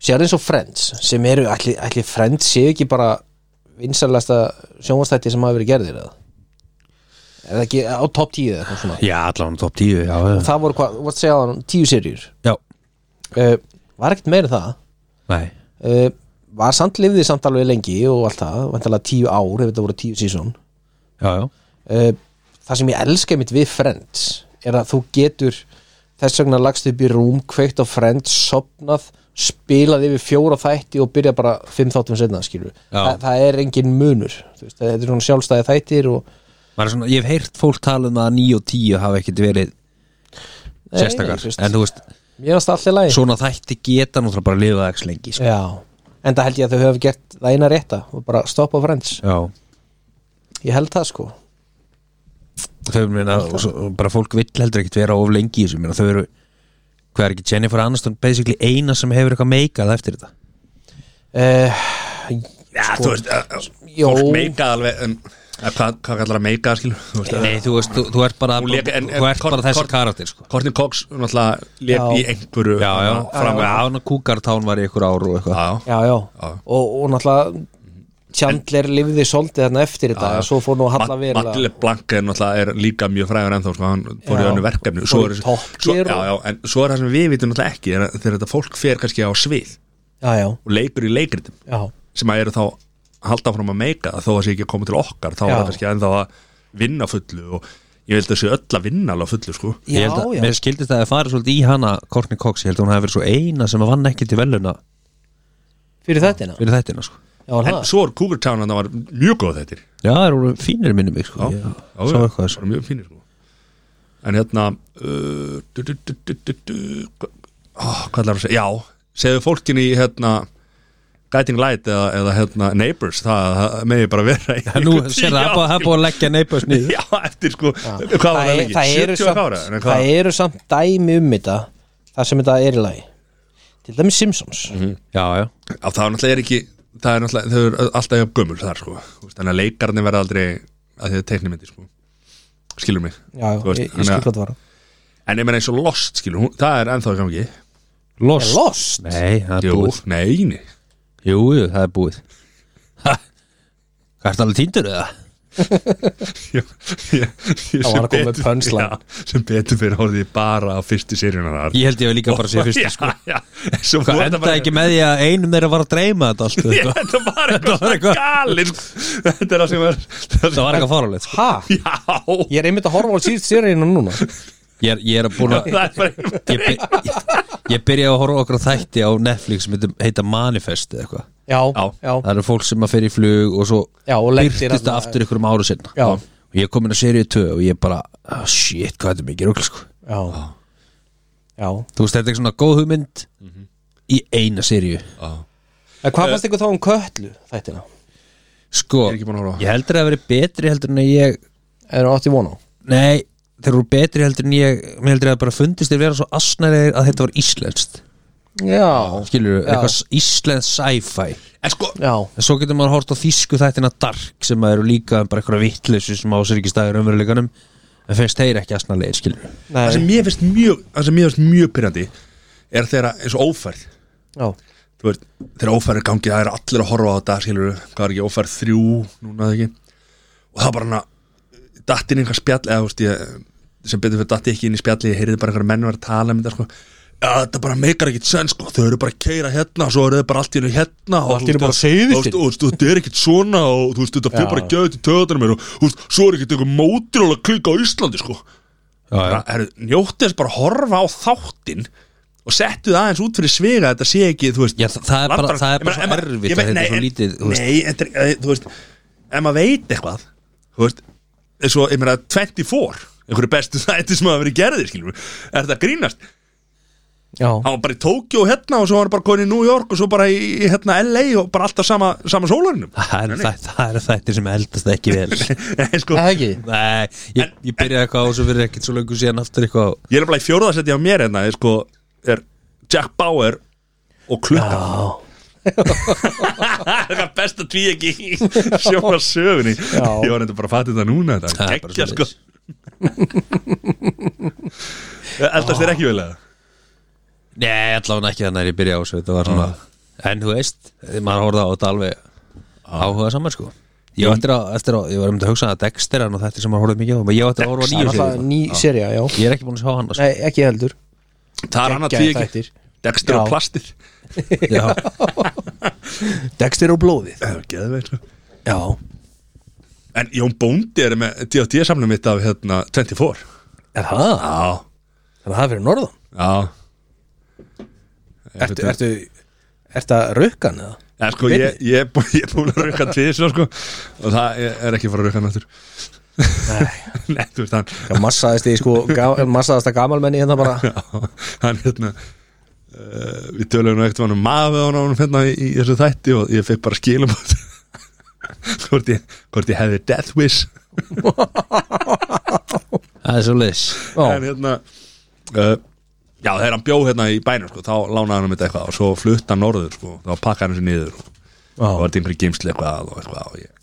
Sér eins og Friends sem eru, ætli, ætli Friends séu ekki bara vinsalasta sjónvastætti sem hafa verið gerðir eða Er það ekki á top 10 eða eitthvað svona
Já, allan top 10 Já, já.
Það voru hvað, hvað segja það, tíu serjur
já.
uh, Var ekkert meira en það
Nei,
uh, Var samt lifðið samt alveg lengi og allt það, vantalega tíu ár ef þetta voru tíu sísón
já, já
uh, það sem ég elska mitt við Friends er að þú getur þess vegna lagst upp í rúm, kveikt á Friends sopnað, spilað yfir fjóra þætti og byrja bara fimm þáttum setna skilur,
Já.
Þa, það er engin munur þú veist, þetta er svona sjálfstæði þættir og
Maður er svona, ég hef heyrt fólk tala um að 9 og 10 hafa ekkit verið
Nei,
sérstakar
þú veist.
en þú veist,
mér er það allir lægi
svona þætti geta náttúrulega bara að lifa ekki lengi sko.
Já, en það held ég að þau hefur gert það eina rétta og bara stoppa Friends
já,
ég held það sko
þau meina og svo, og bara fólk vill heldur ekkit vera of lengi í þessu, meina, þau eru hvað er ekki Jennifer Aniston basically eina sem hefur eitthvað meikað eftir þetta
uh,
Já, þú veist, uh,
Sko, Jó.
fólk meikað alveg en, eh, Hvað, hvað kallar að meikað, skilur? Þú veist,
nei, þú veist, þú, þú ert bara,
Hún lék- en- en-
þú ert
Kort-
bara þessi
Kort-
karakter sko.
Courtney Cox, hún alltaf lef
Já.
í einhverju
já, já,
hana,
fram að hann og kúkartán var í ykkur ár og eitthvað
já, já.
Já, já, Mhm. Og, og náttúrulega Chandler lifði svolítið þarna eftir þetta en svo fór nú að halla
Mag-
verið
Magli Blank er náttúrulega er líka mjög frægur ennþá sko, hann fór í
Já.
önnu verkefni og svo
Fór í
er,
Top
svo,
Gear
já,
og-
já, en svo er það sem við vitum náttúrulega ekki er að þegar þetta fólk fer kannski á svið
Já, já,
og leikur í leikritum
já,
sem að eru þá að halda fram að meika þó að sé ekki að koma til okkar þá er
Já.
það kannski ennþá að vinna fullu og ég held að sé öll að vinna alveg á fullu sko
Ég held að,
já, já.
mér skildist að það farið svolítið í hana Courtney Cox, ég held að hún hafi verið svo eina sem að vann ekki til veluna
Fyrir þettina
fyrir þættina sko.
Já, var
en
það
svo er Cougar Town að það var mjög góð þetta
Já, það eru fínir minni mig sko. Ég
já,
sá
já,
eitthvað þessu.
bara mjög fínir sko. en hérna uh, du, du, du, du, du, du, hva- oh, hvað er það að segja, já segðu fólkin í hérna Guiding Light eða, eða hérna Neighbors það, það megi bara vera í
Nú,
einhver tíu
sér það, það er búið- það er
ár,
búið að leggja neipaðs
skilur.
niður
já, eftir sko, hvað var
Það
það
er-
lengi
það eru
70
samt-
ára, en
það
hvað
eru samt dæmi um þetta Það sem þetta er í lagi Til dæmis Simpsons
Mhm.
Já, já,
á, það er náttúrulega er ekki það er náttúrulega, þau eru alltaf jafn gömul þar sko Þú veist, þannig að leikarnir verða aldrei að þið teiknimyndi sko skilur mig
Já, já,
Þú veist,
ég, ég
þannig
skil
að-
hvað það var
en ég meina eins og Lost skilur, hún, það er ennþá í gangi
lost,
Lost?
Nei, það er
Jú,
búið
nei, nei
Jú, jú, það er búið Ha? Hvað ertu alveg týndur eða?
Já, já, já,
Það var að koma með punchline.
já, sem betur fyrir horfði ég bara á fyrstu seríuna þar
Ég held ég að líka bara sé fyrst sko.
já, já, svo
Hvað
voru
enda
þetta bara-
ekki með því að einum þeirra var að dreyma þetta allt
Já,
yeah.
þetta var eitthvað
var
svona
eitthvað-
galið sko. þetta er það sem var
Það var eitthvað fáralegt sko.
Ha?
já,
Ég er einmitt að horfa á síðust sérinu núna
Ég er, ég er að búin að
það er bara eitthvað
ég, by- ég, ég byrja að horfa á okkur á þætti á Netflix sem heitir- heita Manifest eða eitthvað
Já, já,
Já.
já,
það eru fólk sem að fer í flug og svo
Já, og lendir
byrtist það
þarna-
aftur ykkur um ára sinna
Já.
og ég er komin að serið 2 og ég er bara oh, shit, hvað þetta er mikið rugl sko.
já,
þú veist, þetta er svona góð hugmynd í eina serið
En
Eh.
hvað fannst ykkur þá um köllu þættina?
Ég
sko,
er ekki búin að horfa á.
ég heldur að það veri betri heldur en að ég
Er það átti von á?
nei, þeir eru betri heldur en ég mér heldur að það bara fundist þeir vera svo asnæri að þetta var íslenskt
Já,
skilur,
Já.
eitthvað s- íslenskt sci-fi
en sko,
já,
en svo getur maður hort á þýsku þættina Dark sem að eru líka bara eitthvað vittleysu sem á sér ekki staðir umveruleikanum en finnst þeir ekki asnælega skilur
það sem
nei,
mér finnst mjög það sem mér finnst mjög pyrrandi er þeirra eins og ófærð
já,
þú veist, þegar ófærð er gangið það er allir að horfa á þetta, skilur hvað er ekki, ófærð þrjú, núna eða ekki og það bara hana dattin einhver spjall, eða þú veist ég sem betur fyrir datti ekki inn í spjalli, ég heyrði bara einhverja menn var að tala um þetta, sko Já, þetta bara meikar ekkit senn, sko, þau eru bara að keira hérna svo eru þau bara allt í hennu hérna og
Allt í einu
þú
bara
veist, þú
seiðistin.
veist, og þú veist, þetta er ekkit svona og þú veist, þetta fyrir
Já.
bara að gefa þetta í töðunum mér og þú veist, svo er ekkit einhver mótir að klika á Íslandi, sko
já,
bara, herru, njóttu þess bara að horfa á þáttin og settu það aðeins út fyrir sviga að þetta sé ekki, þú veist
Já, þa- það er bara- það er bara svo erfitt að þetta er svo lítið, þú
þú
veist.
veist nei, þetta er, eh, þú veist, ef maður veit eitthvað þú veist, eins og, ég meina 24 einhverju bestu þætti sem hafa verið gerðir, skilur við er þetta að grínast
já,
hann var bara í Tókjó hérna og svo var hann bara komin í New York og svo bara í hérna LA og bara alltaf sama, sama sólarinum
Það eru þætt- það eru þættir sem eldast ekki vel
Nei, sko,
það ekki
Nei, ég, ég byrjaði eitthvað á þessu fyrir ekkert svo löngu síðan aftur eitthvað á
ég er bara í fjórðasetti á mér hérna er, sko, er Jack Bauer og klukka
Já,
það er best að tví ekki sjóma sögunni
Já.
ég var þetta bara að fatta þetta núna þetta
Það
er
er bara
geggja sko
svoleiðis.
eldast þér ekki vel eða
Nei, allavega ekki þannig að ég byrjaði á þessu Þetta var svona Ah. En þú veist, maður horfði á þetta alveg áhuga saman sko Ég var eftir að, eftir að, ég var um þetta að hugsa að Dexter en þetta sem maður horfði mikið á Men ég var eftir að horfa á
það er
nýju
alltaf
sér
ný serja, já
Ég er ekki búin að sjá hann sko.
Nei, ekki heldur
það er hann að tví
Geggjaðir
ekki
þættir.
Dexter
Já.
og plastið
Já,
Dexter og blóðið
Það er geðveit, sko.
Já,
en Jón Bóndi er með D.O.D. samlum mitt af hérna 24
er það?
já,
Þannig að það fyrir norðan
já
Ertu, ertu, ertu að rukkan eða?
Ja, sko, ég, ég, er bú- ég er búin að rauka tvið sko, og það er er ekki að fara að rauka hann aftur
Nei,
Nei, þú veist, hann,
það massaðist í sko ga- massaðasta gamalmenni hérna bara
hann hérna uh, við töluðum nú ekkert hann um maður hann hann hérna í, í þessu þætti og ég fekk bara skilum hvort ég, hvort ég hefði death wish
það er svo leis
Já,
en hérna uh, já þegar hann bjó hérna í bænum sko, þá lánaði hann um þetta eitthvað og svo flutt hann norður sko, þá pakkaði hann sér niður og
já,
það var þetta einhverjum geimsli eitthvað og eitthvað og ég,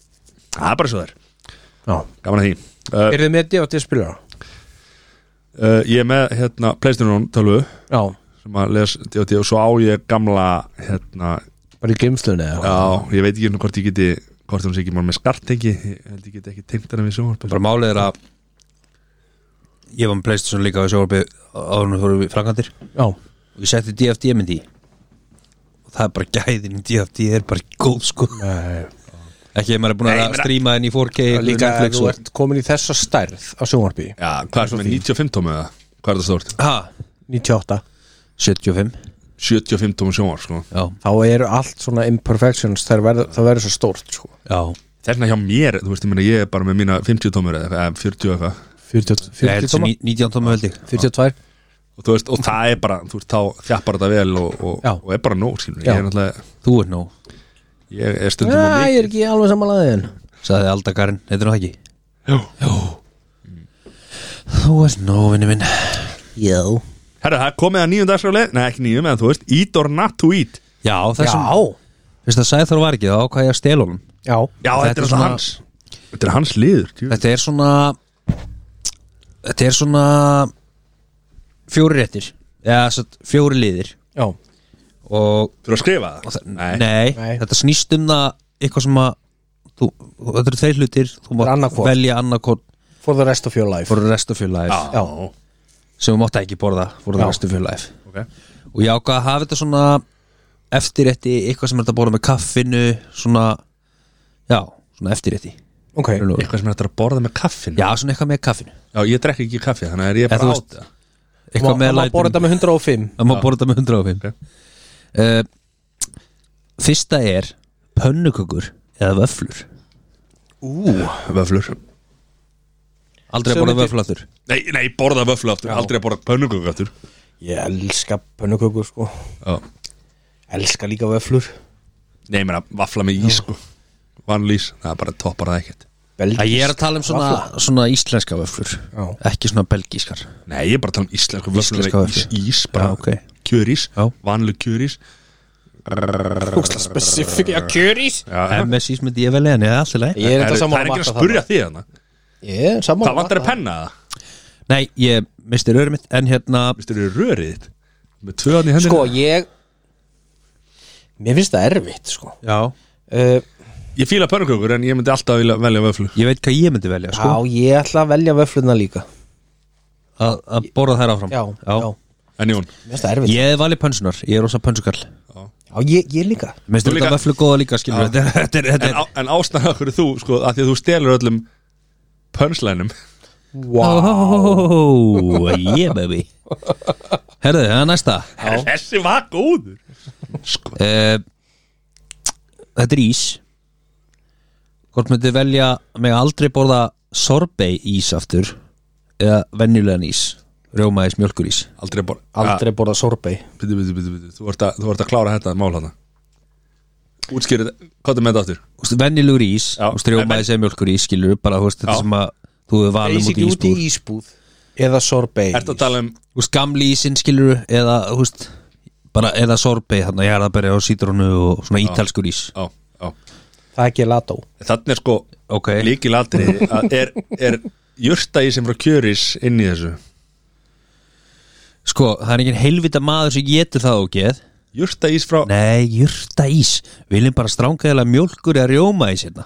það er bara svo þær,
já
gaman að því uh,
Eru þið með D.O.T. spilara?
uh, ég er með hérna Playstation tölvu
Já,
sem að les D.O.D. og svo á ég gamla hérna
bara í geimslunni eða?
Já, ég veit ekki um hvort ég geti hvort hún sé ekki mál með skartengi ég held ég geti ekki tengt hana við sjónvarp
Bara málið er að Ég var með Playstation líka á sjóarbi Áðurinn fórum við frangandir
Já,
Og ég setti DFD myndi í. Og það er bara gæðin í DFD er bara góð sko
nei
Ekki ef maður er búin
Nei, ég
að
meina-
stríma henni í 4K
Það er Eh, líka ef
Netflix
þú
og
ert komin í þessa stærð á sjónvarpi
Já, hvað er svona 95 tómi eða? Hvað er það stórt?
Ha,
98
75
75 tómi sjónvarp sko
Já,
þá eru allt svona imperfections þær verð- það verður svo stórt sko.
já
Þessna hjá mér, þú veist, ég meina ég er bara með mína 50 tómur eða eða 40 eitthvað
40,
Ég held
40
sem
tóma,
ní- 19 tóma held ég
42
og þú veist, og það er bara, þú veist, þá þjappar þetta vel og, og,
Já.
og er bara nóg, skilur
Já.
ég er náttúrulega,
Þú ert nóg,
ég er stundum á
Já, Ah, ég
mikið
er ekki alveg samanlæðin
sagði Aldakarinn Þetta er nú það ekki
Já.
Þú ert nóg, vinni minn
Já
Herra, það er komið að nýjum dagskráli, nei ekki nýjum eða þú veist, eat or not to eat
Já,
Já, þessum Veistu að Sæþór var ekki, þá ákvað ég að stela honum
já,
Já, þetta, er alltaf
svona-
hans Þetta er hans liður, tjú
Þetta er svona Þetta er svona Fjóri réttir Eða satt, fjóri liðir
já.
Og
Þú eru að skrifa
og
það?
það- Nei,
Nei.
þetta snýst um það Eitthvað sem að þú, Þetta eru tveir hlutir Þú
er
mátt
annað hvort.
velja annarkort
For the rest of your life
For the rest of your life
Já,
Já.
Sem þú mátt ekki borða For the
Já.
rest of your life
ok
Og ég ákvað að hafa þetta svona Eftirrétti, eitthvað sem er þetta að borða með kaffinu Svona Já, svona eftirrétti
Ok,
Já,
Eitthvað sem er hægt að borða með kaffinu
svona eitthvað með kaffinu
Já, ég drekk ekki kaffi, þannig er ég
En
bara
þú
át
veist-
það
Má-
Eitthvað
það
með
má borða
lætum
þetta með 105
Það má borða þetta með 105
Ok.
uh, Fyrsta er Pönnukökur eða vöflur
Ú, vöflur
Aldrei að
Sömu
borða
til-
vöflur aftur
Nei, nei, borða vöflu aftur, aldrei að borða pönnuköku aftur
Ég elska pönnukökur sko
Já
Elska líka vöflur
Nei, ég meina, vafla með ís, sko Vanlu ís, það bara toppar það ekkert
Belgísk
Ég er að tala um
vafla.
svona, svona íslenska vöflur
Já.
Ekki svona belgískar
Nei, ég er bara að tala um íslensku vöflu
Íslenska
með ís,
vöfflu.
ís, bara
Já, ok.
kjörís
Já.
Vanlu kjörís
Úksla specifík Já, kjörís
Já,
MSIs myndi ég velja henni, það er allt í lagi
Ég er
það er
þetta
það
saman
er ekki að spurja því hana
Ég er saman
Það vantar að penna það
Nei, ég misti rörum mitt En hérna,
Vistu, eru rörið þitt Með tvöðan í hendur
Sko, ég Mér finnst það erfitt sko
já
uh,
Ég fíla pönnukökur, en ég myndi alltaf vilja velja vöflu
Ég veit hvað ég myndi velja, sko
Já, ég ætla að velja vöfluna líka
að að borða þær áfram
Já, já,
En Jón,
Mér finnst það erfitt
Ég hef valið pönsunar, ég er rosa pönsukarl
Já, ég, ég líka
Mér
Þú
finnst
líka-
þetta vöflu góða líka, skilur Þetta er, þetta er, þetta
en,
er
á, en ástæðan okkur þú sko, að því að þú stelur öllum pönslænum
Wow, yeah baby Herðu, það er næsta
þessi var góður
uh, Þetta er ís Hvort myndi velja mig aldrei borða sorbei ís aftur eða venjulegan ís Rjómaðis mjölkurís
Aldrei bor
Aldrei borða sorbei
Bitu, bitu, bitu, bitu. Þú, ert að, þú ert að klára þetta mál hana Útskýrið, hvað er með þetta aftur?
Vennilugur ís,
Já.
rjómaðis eða mjölkurís skilur upp bara þú veist, þetta
Já.
sem að þú hefur valum út í
Basically út í
ísbúð
ísbúð Eða sorbei
Ertu að tala um
Þú veist, gamli ísinn skilur eða, þú veist, bara eða sorbei þannig að ég er að berja á sítrónu og svona ítalskur ís
á, á.
Það er gelato
Þannig er sko
Ok,
líkil aldrei er, er jurtaði sem frá kjöris inn í þessu
sko, það er engin heilvita maður sem getur það og geð
Jurtaís frá,
Nei, jurta ís Viljum bara stránkaðilega mjölkur eða rjómaðis hérna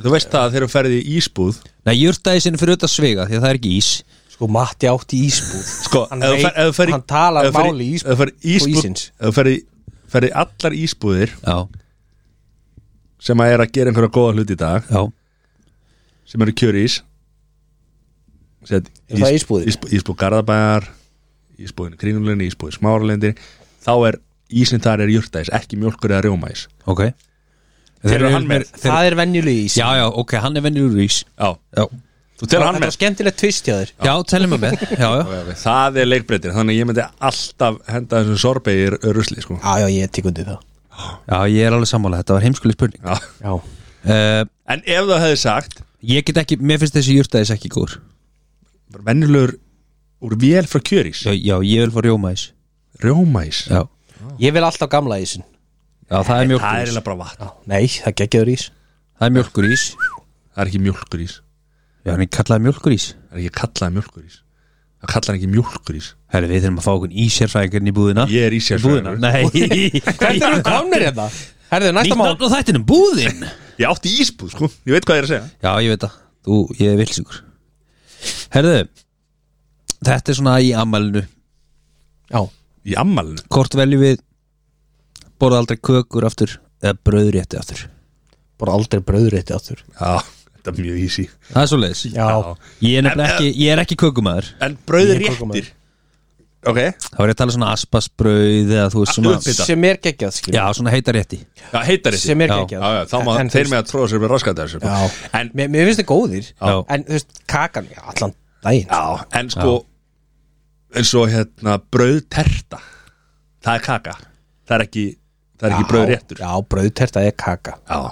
þú veist það að þegar þú ferði í ísbúð
Nei, jurta ísinn fyrir auðvitað sviga því að það er ekki ís
Sko Matti átti ísbúð
Sko,
Hann
ef þú
veit-
fer- ef þú fer í-
hann talar
ef þú fer í-
máli í ísbúð-
ef þú fer í
og
ísbúð-
ísins.
ef þú ferði ferði allar ísbúðir
Já,
sem að er að gera einhverja góða hluti í dag
já
sem eru kjörís Set,
Er það ísbúðir?
Ísbúð, ísbúð Garðabæðar Ísbúðin Kringlunni, Ísbúðin Smáralendin Þá er ísinn þar er jurtaís ekki mjölkur eða rjómaís
Ok
Þeir eru
Þeir-
hann með-
þeir-
Það er venjuleg ís
Já, já, ok, hann er venjur úr ís
Já,
Já,
þú telur hann
Þetta er
með
skemmtilegt tvist hjá þér
já tellum við með Já, já
Það er leikbreytir, þannig að ég myndi alltaf henda þessum sorbegi í rusli sko.
Já, já, ég tek undir það
Já, ég er alveg sammála, þetta var heimskuleg spurning
Já.
Já
uh,
En ef það hefði sagt
Ég get ekki, mér finnst þessi jurtaðis ekki góður
Venjulegur úr vél frá kjörís
Já, já ég vil fá rjómaðis
Rjómaís
Já,
Ég vil alltaf gamla ísin
já það
Það
er
er
mjölkur ís
eiginlega bara vatn
Nei, það geggjaður ís
Það er mjölkur ís
Það er ekki mjölkurís
Já, hann er kallaði mjölkur ís
Það er ekki kallað mjölkurís Það kallar ekki mjölkurís
Herri, við þurfum að fá okkur ísérfræðingarn í búðina
Ég er ísérfræðingur.
Í búðina? Nei
Hvernig eru komnir hérna? Herðu, næsta
Nýtt
mál
nafn á þættinum, búðin
Ég átti ísbúð, sko, ég veit hvað ég er að segja
Já, ég veit það, þú, ég er vilsingur Herðu Þetta er svona í ammælinu
Já,
Í ammalinu
Hvort veljum við borða aldrei kökur aftur eða brauðrétti aftur
bara aldrei brauðrétti áttur
Já, þetta er mjög easy
Það er svo leiðis
Já,
Ég er nefnilega ekki, ég er ekki kökumæður
En brauð
Ég er
réttir Ok
Þá er ég að tala svona aspasbrauð eða þú veist svona
Uppbytta.
sem er geggjað skil
Já, svona heita rétti
Já, heitar þetta
Sem er
Já,
Já,
geggjað
já, þá má
En-
þeir með að tróða sér með raskata þessu
Já,
En,
mér, mér finnst þið góðir
Já.
En þú veist, kakan, já, allan daginn
já, en sko eins og hérna brauð terta Það er kaka Það er ekki, það er ekki brauð réttur
Já, brauðterta er kaka
Já,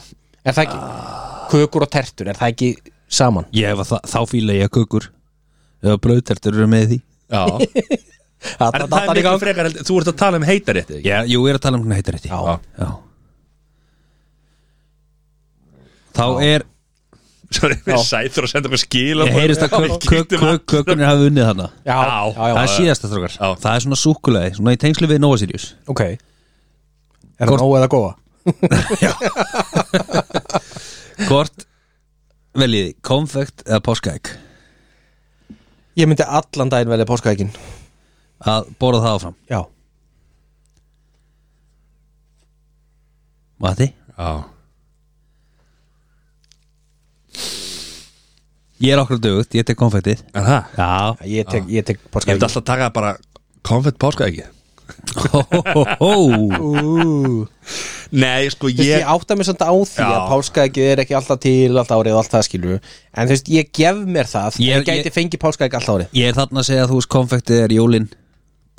Er það ekki, kökur og tertur, er það ekki saman?
Ég hef að það, þá fíla ég kökur eða brauðtertur eru með í því
já En það er miklu frekar heldur, þú ert að tala um heitarétti ekki?
Já, jú, ég er að tala um svona heita rétti
Já.
Já. Þá er
Svo erum við sætur og senda okkur skil
Ég heyrist að kök, kök, kök, kökunir hafa unnið hana
Já,
Já.
já, já,
Það er síðasta þrókar
Já.
Það er svona súkulaði, svona í tengslu við Nova Sirius
ok Er það nóg eða góða?
Hvort veljiði, konfekt eða páskaegg
Ég myndi allan daginn velja páskaækin
að borða það áfram
Já,
Mati?
Já,
Ég er okkur dögut, ég tek konfektið
en það?
Já
ég tek, ég tek
Ég hefði
páskaækin
alltaf takað bara konfett páska ekki
Hó, hó, hó, hó.
Nei, sko
Ég,
ég
ég átta mig samt á því
Já.
að páskaækið er ekki alltaf til alltaf árið og allt það skilur við. En þú veist, ég gef mér það
Ég-
Ég, gæti
ég-
fengið páskaæk alltaf árið
Ég er þarna að segja að þú veist konfektið er jólin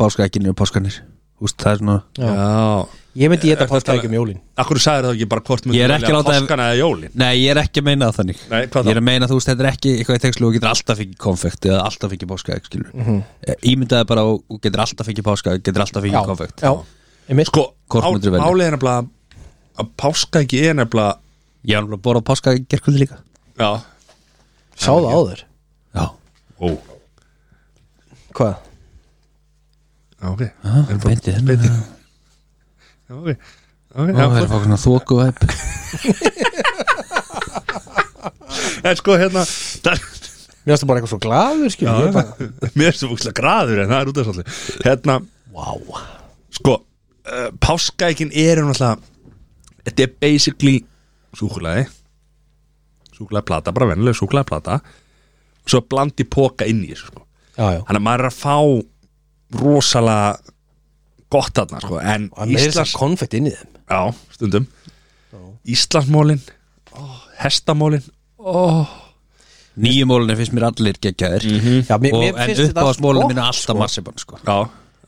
Páskaegginir og páskanir Úst, Það er svona
Já
Ég myndi geta páskaækjum um jólin
Akkur sagði það ekki bara hvort
Ég er
myndir
ekki að
velja
láta-
páskana eða jólin
Nei, ég er ekki að meina það þannig
Nei, hvað þá?
Ég er að meina þú veist, þetta er ekki eitthvað í tengslu og getur alltaf fengið konfekt eða alltaf fengið páskaegg, skilur mm
Mhm.
Ímyndaði bara og og getur alltaf fengið páskaegg getur alltaf fengið konfekt
já, einmitt
Sko,
Hvort myndirðu velja?
álega nefnilega að páska ekki er nefnilega
Ég var alveg að borða páskaegg gerkvöldi líka
Já
Sá það á þér
Já,
Ó,
Hvað?
já, ok Erum bara-
beinti Ah, þennan
Beinti. Já, ok Ok,
Ó, það er
já,
að fá svona þóku væp
en sko hérna það er-
Mér varstu bara eitthvað svo glaður skil Ég bara,
Mér er svo fúkslega graður en það er út af svolítið Hérna,
wow
sko uh, Páskaækin er um alltaf Þetta er basically súkulaði Súkulaði plata, bara vennileg súkulaði plata Svo blandi póka inn í þessu sko
Já, já
Þannig að maður er að fá rosalega gott þarna sko En
Það er þess
Íslands
að konfekt inn í þeim
Já, stundum Íslandsmólin, ó, hestamólin
nýju mólunni finnst mér allir geggjaðir
Mhm. Já, mér-
og
mér
en
finnst þetta allt
uppáðsmólunni
gott,
mín er alltaf
sko.
marsipan sko.
Já,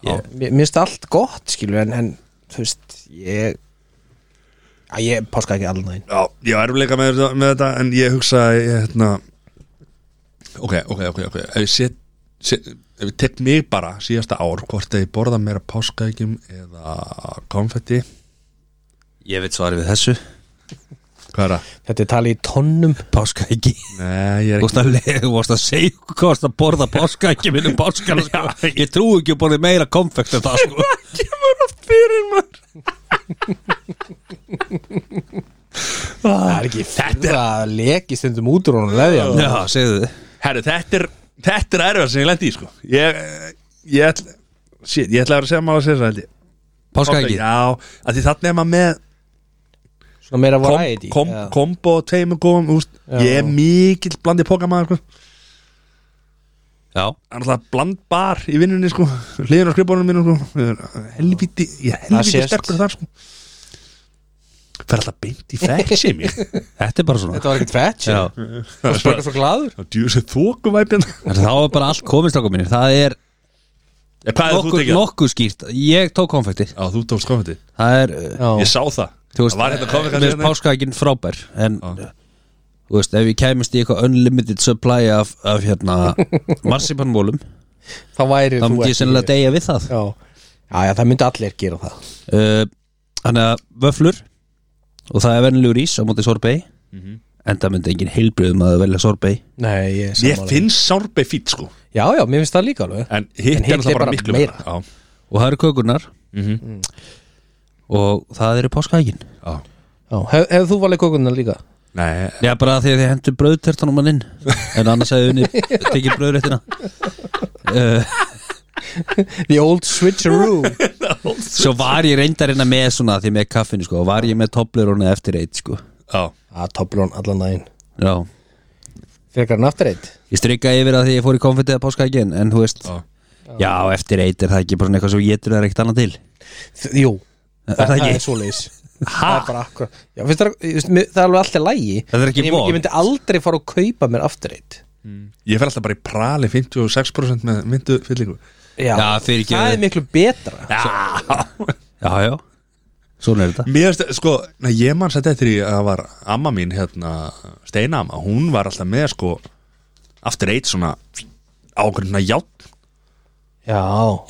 já,
Ég-
Mér mér finnst allt gott, skilur En, en þú veist, ég að ég páska ekki allan daginn
já, ég var erfleika með, þetta- með þetta en ég hugsa að ég, hérna, ok, ok, ok, ok ef ég set, set ef ég tek mig bara síðasta ár hvort að ég borða meira páskaegjum eða konfetti
ég veit svarið við þessu
hvað er það?
Þetta er talið í tonnum
páska ekki
Nei, ég er ekki
Þú veist að leið, þú veist að segja okkur hvað varst að borða páska ekki minnum páskana sko. Ég trú ekki að borða meira konfekt en það sko.
kemur oft fyrir maður
Það er ekki fyrir að leki stundum út úr honum leðja
Já, segðu þið
Herru, þetta er, þetta er erfið sem ég lendi í sko Ég, ég ætla Shit, ég ætla að vera að segja maður að segja það held ég.
Páska ekki
Já, að því þannig er maður með
Svona meira
kom,
variety
kom,
já.
kombo, tveimur góðum úst,
Já.
Ég er mikill blandið pókamaður sko.
Já,
Það er alltaf blandbar í vinnunni sko Hliðin á skrifbórunum mínum sko Ég er Helvíti, ég er
Það
helvíti
sést.
sterkur þar sko Fer alltaf beint í fæk sem ég
þetta er bara svona
Þetta var ekkert fett
Já.
Það var bara svo glaður
Það djúðu sem þókuvæpjan
En Þá er bara allt komist okkur mínir Það er
Eh, Hvað er þú
nokkuð,
tekið?
nokkuð skýrt Ég tók konfektir
Já, þú tókst konfetti
Það er, uh,
Já.
Ég sá það
þú veist, eh,
Það var hérna
mér finnst
konfetti
páska ekki frábær En, eh,
Já.
þú veist, ef ég kæmist í eitthvað unlimited supply af, af hérna marsipanmólum
Þá væri
þá
þú
myndi ég sennilega deyja við það
Já. já, já, það myndi allir gera það
Uh, Þannig að vöflur og það er vennilegur ís á móti sorbei en það myndi engin heilbröðum að velja sorbei
Nei, ég er
Ég
sammála.
finnst sárbei fýtt sko
Já, já, mér finnst það líka alveg
En hitt
En
er
hitt
alltaf
er
bara
bara
miklu
meira.
Já,
og það eru kökurnar Mm. og það eru páskaækin
já
já, hef, Hefur þú valið kókunna líka?
Nei,
Já, bara því að þið hendur brauðtertan um hann inn en annars hefði unni tekið brauðréttina uh,
The old switcheroo
Svo var ég reyndar hérna með svona því með kaffinu sko og var ég með toblerone eftir eitt sko
já
Það toplur hann allan daginn
Já,
Frekar hann aftur eitt
ég strikka yfir að því ég fór í konfettið að páskaækin en þú veist,
Já.
já, eftir eitt er það ekki bara svona eitthvað sem ég getur það ekkert annað til
Þ- Jú,
Er það ekki?
er svoleiðis Það er bara akkur já, finnst, það, þú veist, mér- það er alveg alltaf lægi
Það er ekki
ég,
vond.
ég myndi aldrei fara að kaupa mér aftur eitt
Ég fer alltaf bara í prali 56% með myndu fyllingu
Já,
Já, fyrir ekki-
Það er miklu betra
Já
Já, já, svona er þetta
Mér finnst, sko, nei, ég mann sætti eftir því að það var amma mín, hérna, steinama, hún var alltaf með, sko, aftur eitt svona ákveðna játn,
Já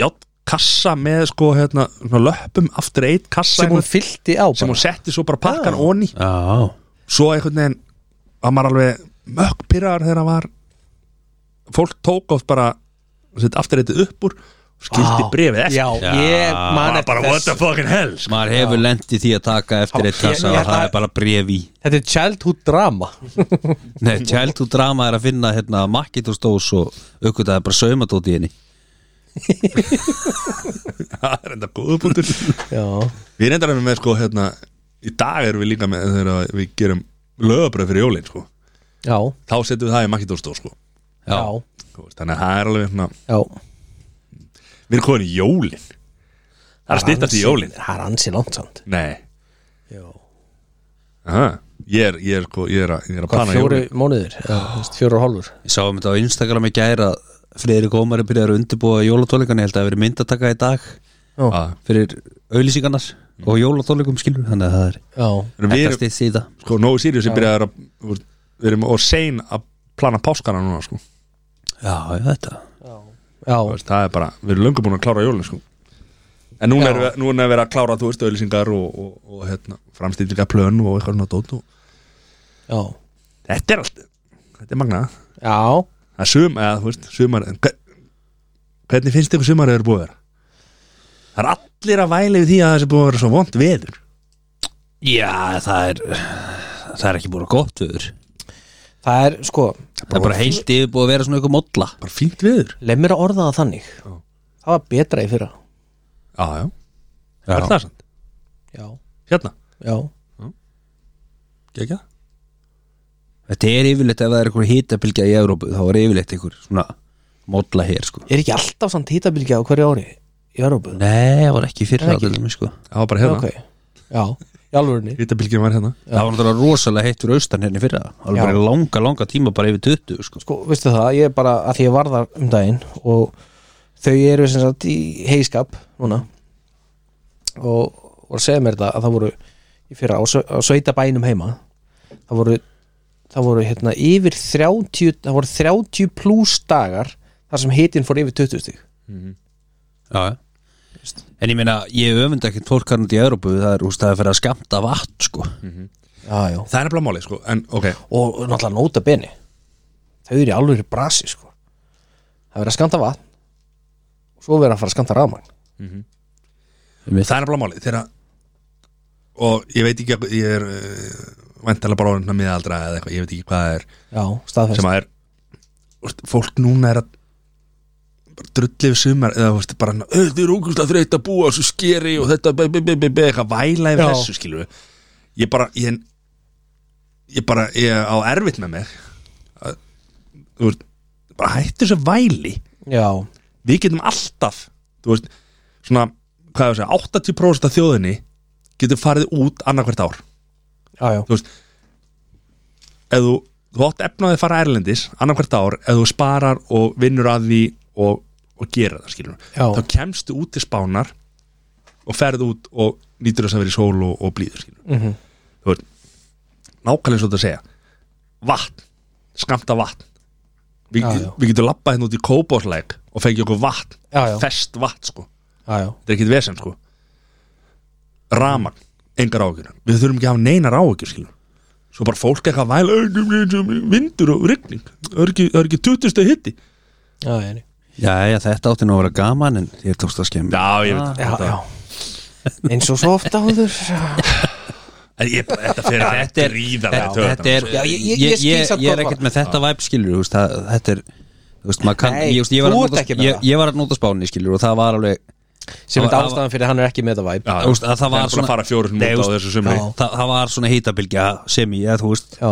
játn kassa með, sko, hérna, svona löpum aftur eitt kassa
Sem hún fyllti á
sem
bara.
hún setti svo bara pakkan ah. onni,
Já,
svo einhvern veginn var maður alveg mökkpyrraðar þegar var fólk tók oft bara sett, aftur eitt upp úr og skildi
Vá.
brefið eftir
Já,
Já,
ég man
bara,
eftir
bara what the fucking hell sko.
maður hefur lent í því að taka eftir eitt
Já, ég-
kassa
ég-
og það er bara bref í
Þetta er childhood drama
Nei, Childhood Drama er að finna hérna Makkitúrstós og aukvitað er bara saumatótt í henni
það er enda góða punktur
Já,
Við reyndar erum með sko hérna Í dag erum við líka með þegar við gerum lögabröð fyrir jólin sko
já,
Þá setjum við það í Makkidóstó sko
já,
Já,
Þú veist, Þannig að það er alveg hérna
já.
Við erum komin í jólin Það er að stýttast í
Ansi-
jólin
Það er ansi langt samt
Nei
Já.
Aha. Ég er, ég er, sko, ég er, að, ég er að
Hvað,
plana
fjóri
jólin
mánuðir? Já, þú veist, Fjóri og hálfur
ég sáum þetta á Instagram í gæra Friðrik Ómari byrjar að undirbúa jólatólingan ég held að það hafi verið myndataka í dag
Ah,
fyrir auðlýsingarnar og jólatólingum skilur þannig að það er
Já,
Við
þetta
erum
stið síða
sko nógu sírjus Ég byrjaði að þú veist, Við erum og sein að plana páskana núna sko Þú
Já, já, þetta
já,
veist, Það er bara Við erum löngum búin að klára jólin sko En núna
Já.
er, við- núna er verið að klára, þú veist, auðlýsingar og, og, og hérna, framstýrlinga plön og eitthvað svona dót og
já
þetta er allt, þetta er magnað
Já,
Það er sum, eða þú veist, sumar en hver- Hvernig finnst ykkur sumar eru búið að vera? Það er allir að væli við því að þessi búið að vera svo vond veður
Já, það er það er ekki búin að gott viður
það er sko
það er bara heilt yfir búið að vera svona eitthvað modla
Bara fínt veður
Leif mér að orða það þannig Það var betra í fyrra
Já, já,
Já.
er það sant?
Já,
Hérna,
já,
gekk það?
Þetta er yfirleitt ef það er eitthvað hitabilgja í Európu þá er yfirleitt eitthvað svona modla hér sko
er ekki alltaf samt hítabilgja á hverju ári í Evrópu?
Nei, það var ekki fyrir
Er
það
ekki?
til dæmis sko
Já, bara hérna
ok, já í alvörunni
Hvítabilgjum var hérna
Það var náttúrulega rosalega heitt fyrir austan henni fyrir það Alveg
Já.
bara í langa, langa tíma bara yfir 20 sko.
sko, veistu það, ég er bara að því ég var þar um daginn og þau eru sem sagt í heiskap núna og voru að segja mér þetta að það voru í fyrra á, sau- á sveita bænum heima það voru, það voru hérna yfir 30, það voru 30 pluss dagar þar sem hitin fór yfir 20 stig
Já, já En ég meina, ég öfunda ekkert fólk hann út í Európu Það er, úst, það er fyrir að skamta vatn sko.
já, já.
Það er nefnilega máli sko En ok,
og náttúrulega nota beni þau eru í alveg brasi sko það verið að skanta vatn og svo verið að fara að skanta rafmagn
það er nefnilega máli Þegar Og ég veit ekki að Ég er uh, Væntalega bara orðin miðaldra eða eitthvað Ég veit ekki hvað það er
já, staðfest
Sem að er úst, Fólk núna er að bara drullið við sumar eða þú veist, bara "Eh, þið eru ógust að þreytta að búa á þessu skeri og þetta be, be, be, be, be, eitthvað væla yfir
Já.
þessu skilur við ég bara ég, ég bara ég á erfitt með mér Að- þú veist bara hættu þessu væli
já,
við getum alltaf þú veist, svona, hvað ég að segja 80% af þjóðinni getur farið út annarkvært ár
já, já,
þú veist ef þú, þú átt efnaði að fara erlendis annarkvært ár, ef þú sparar og vinnur að því og, og gera það skilur
Já.
þá kemstu út til spánar og ferð út og nýtur þess að vera í sól og, og blíður skilur mm
Mhm.
þú veist nákvæmlega svo þetta að segja vatn, skamta vatn Vi,
Já, já.
við getum labbað hérna út í kóbósleik og fengið okkur vatn,
Já, já.
fest vatn sko
já, já.
þetta er ekkit vesen sko raman, engar áhyggjur við þurfum ekki að hafa neinar áhyggjur skilur svo bara fólk eitthvað væl "Ö, ö, ö, ö, vindur og rigning það er ekki, það er ekki 20 steg hitti
já, ég er í.
Já, já, þetta átti nú að vera gaman En ég tókst að skemmi
já, ég
Ah.
veit
já,
þetta,
já. eins og svo ofta áður
En ég, bara- þetta fyrir að
Þetta er,
gríðarlega
þetta er
Já, ég- ég- ég skil
ég,
samt
ég er
hvað
ekkert með þetta væp skilur úst, það, Þetta er þú veist, maður kann,
Nei,
ég, úst, ég, var
þú
að
ert
nota,
ekki með
ég,
það.
ég var að nota spáni skilur og það var alveg
sem er
Það var-
ástæðan fyrir að hann er ekki með þetta væp
Já, já.
úst, að það
Þeir eru
var
búin að fara fjórum
Nei,
út á
úst,
þessu sumri.
já, það, það var svona hýtabilgja sem ég, þú veist
já,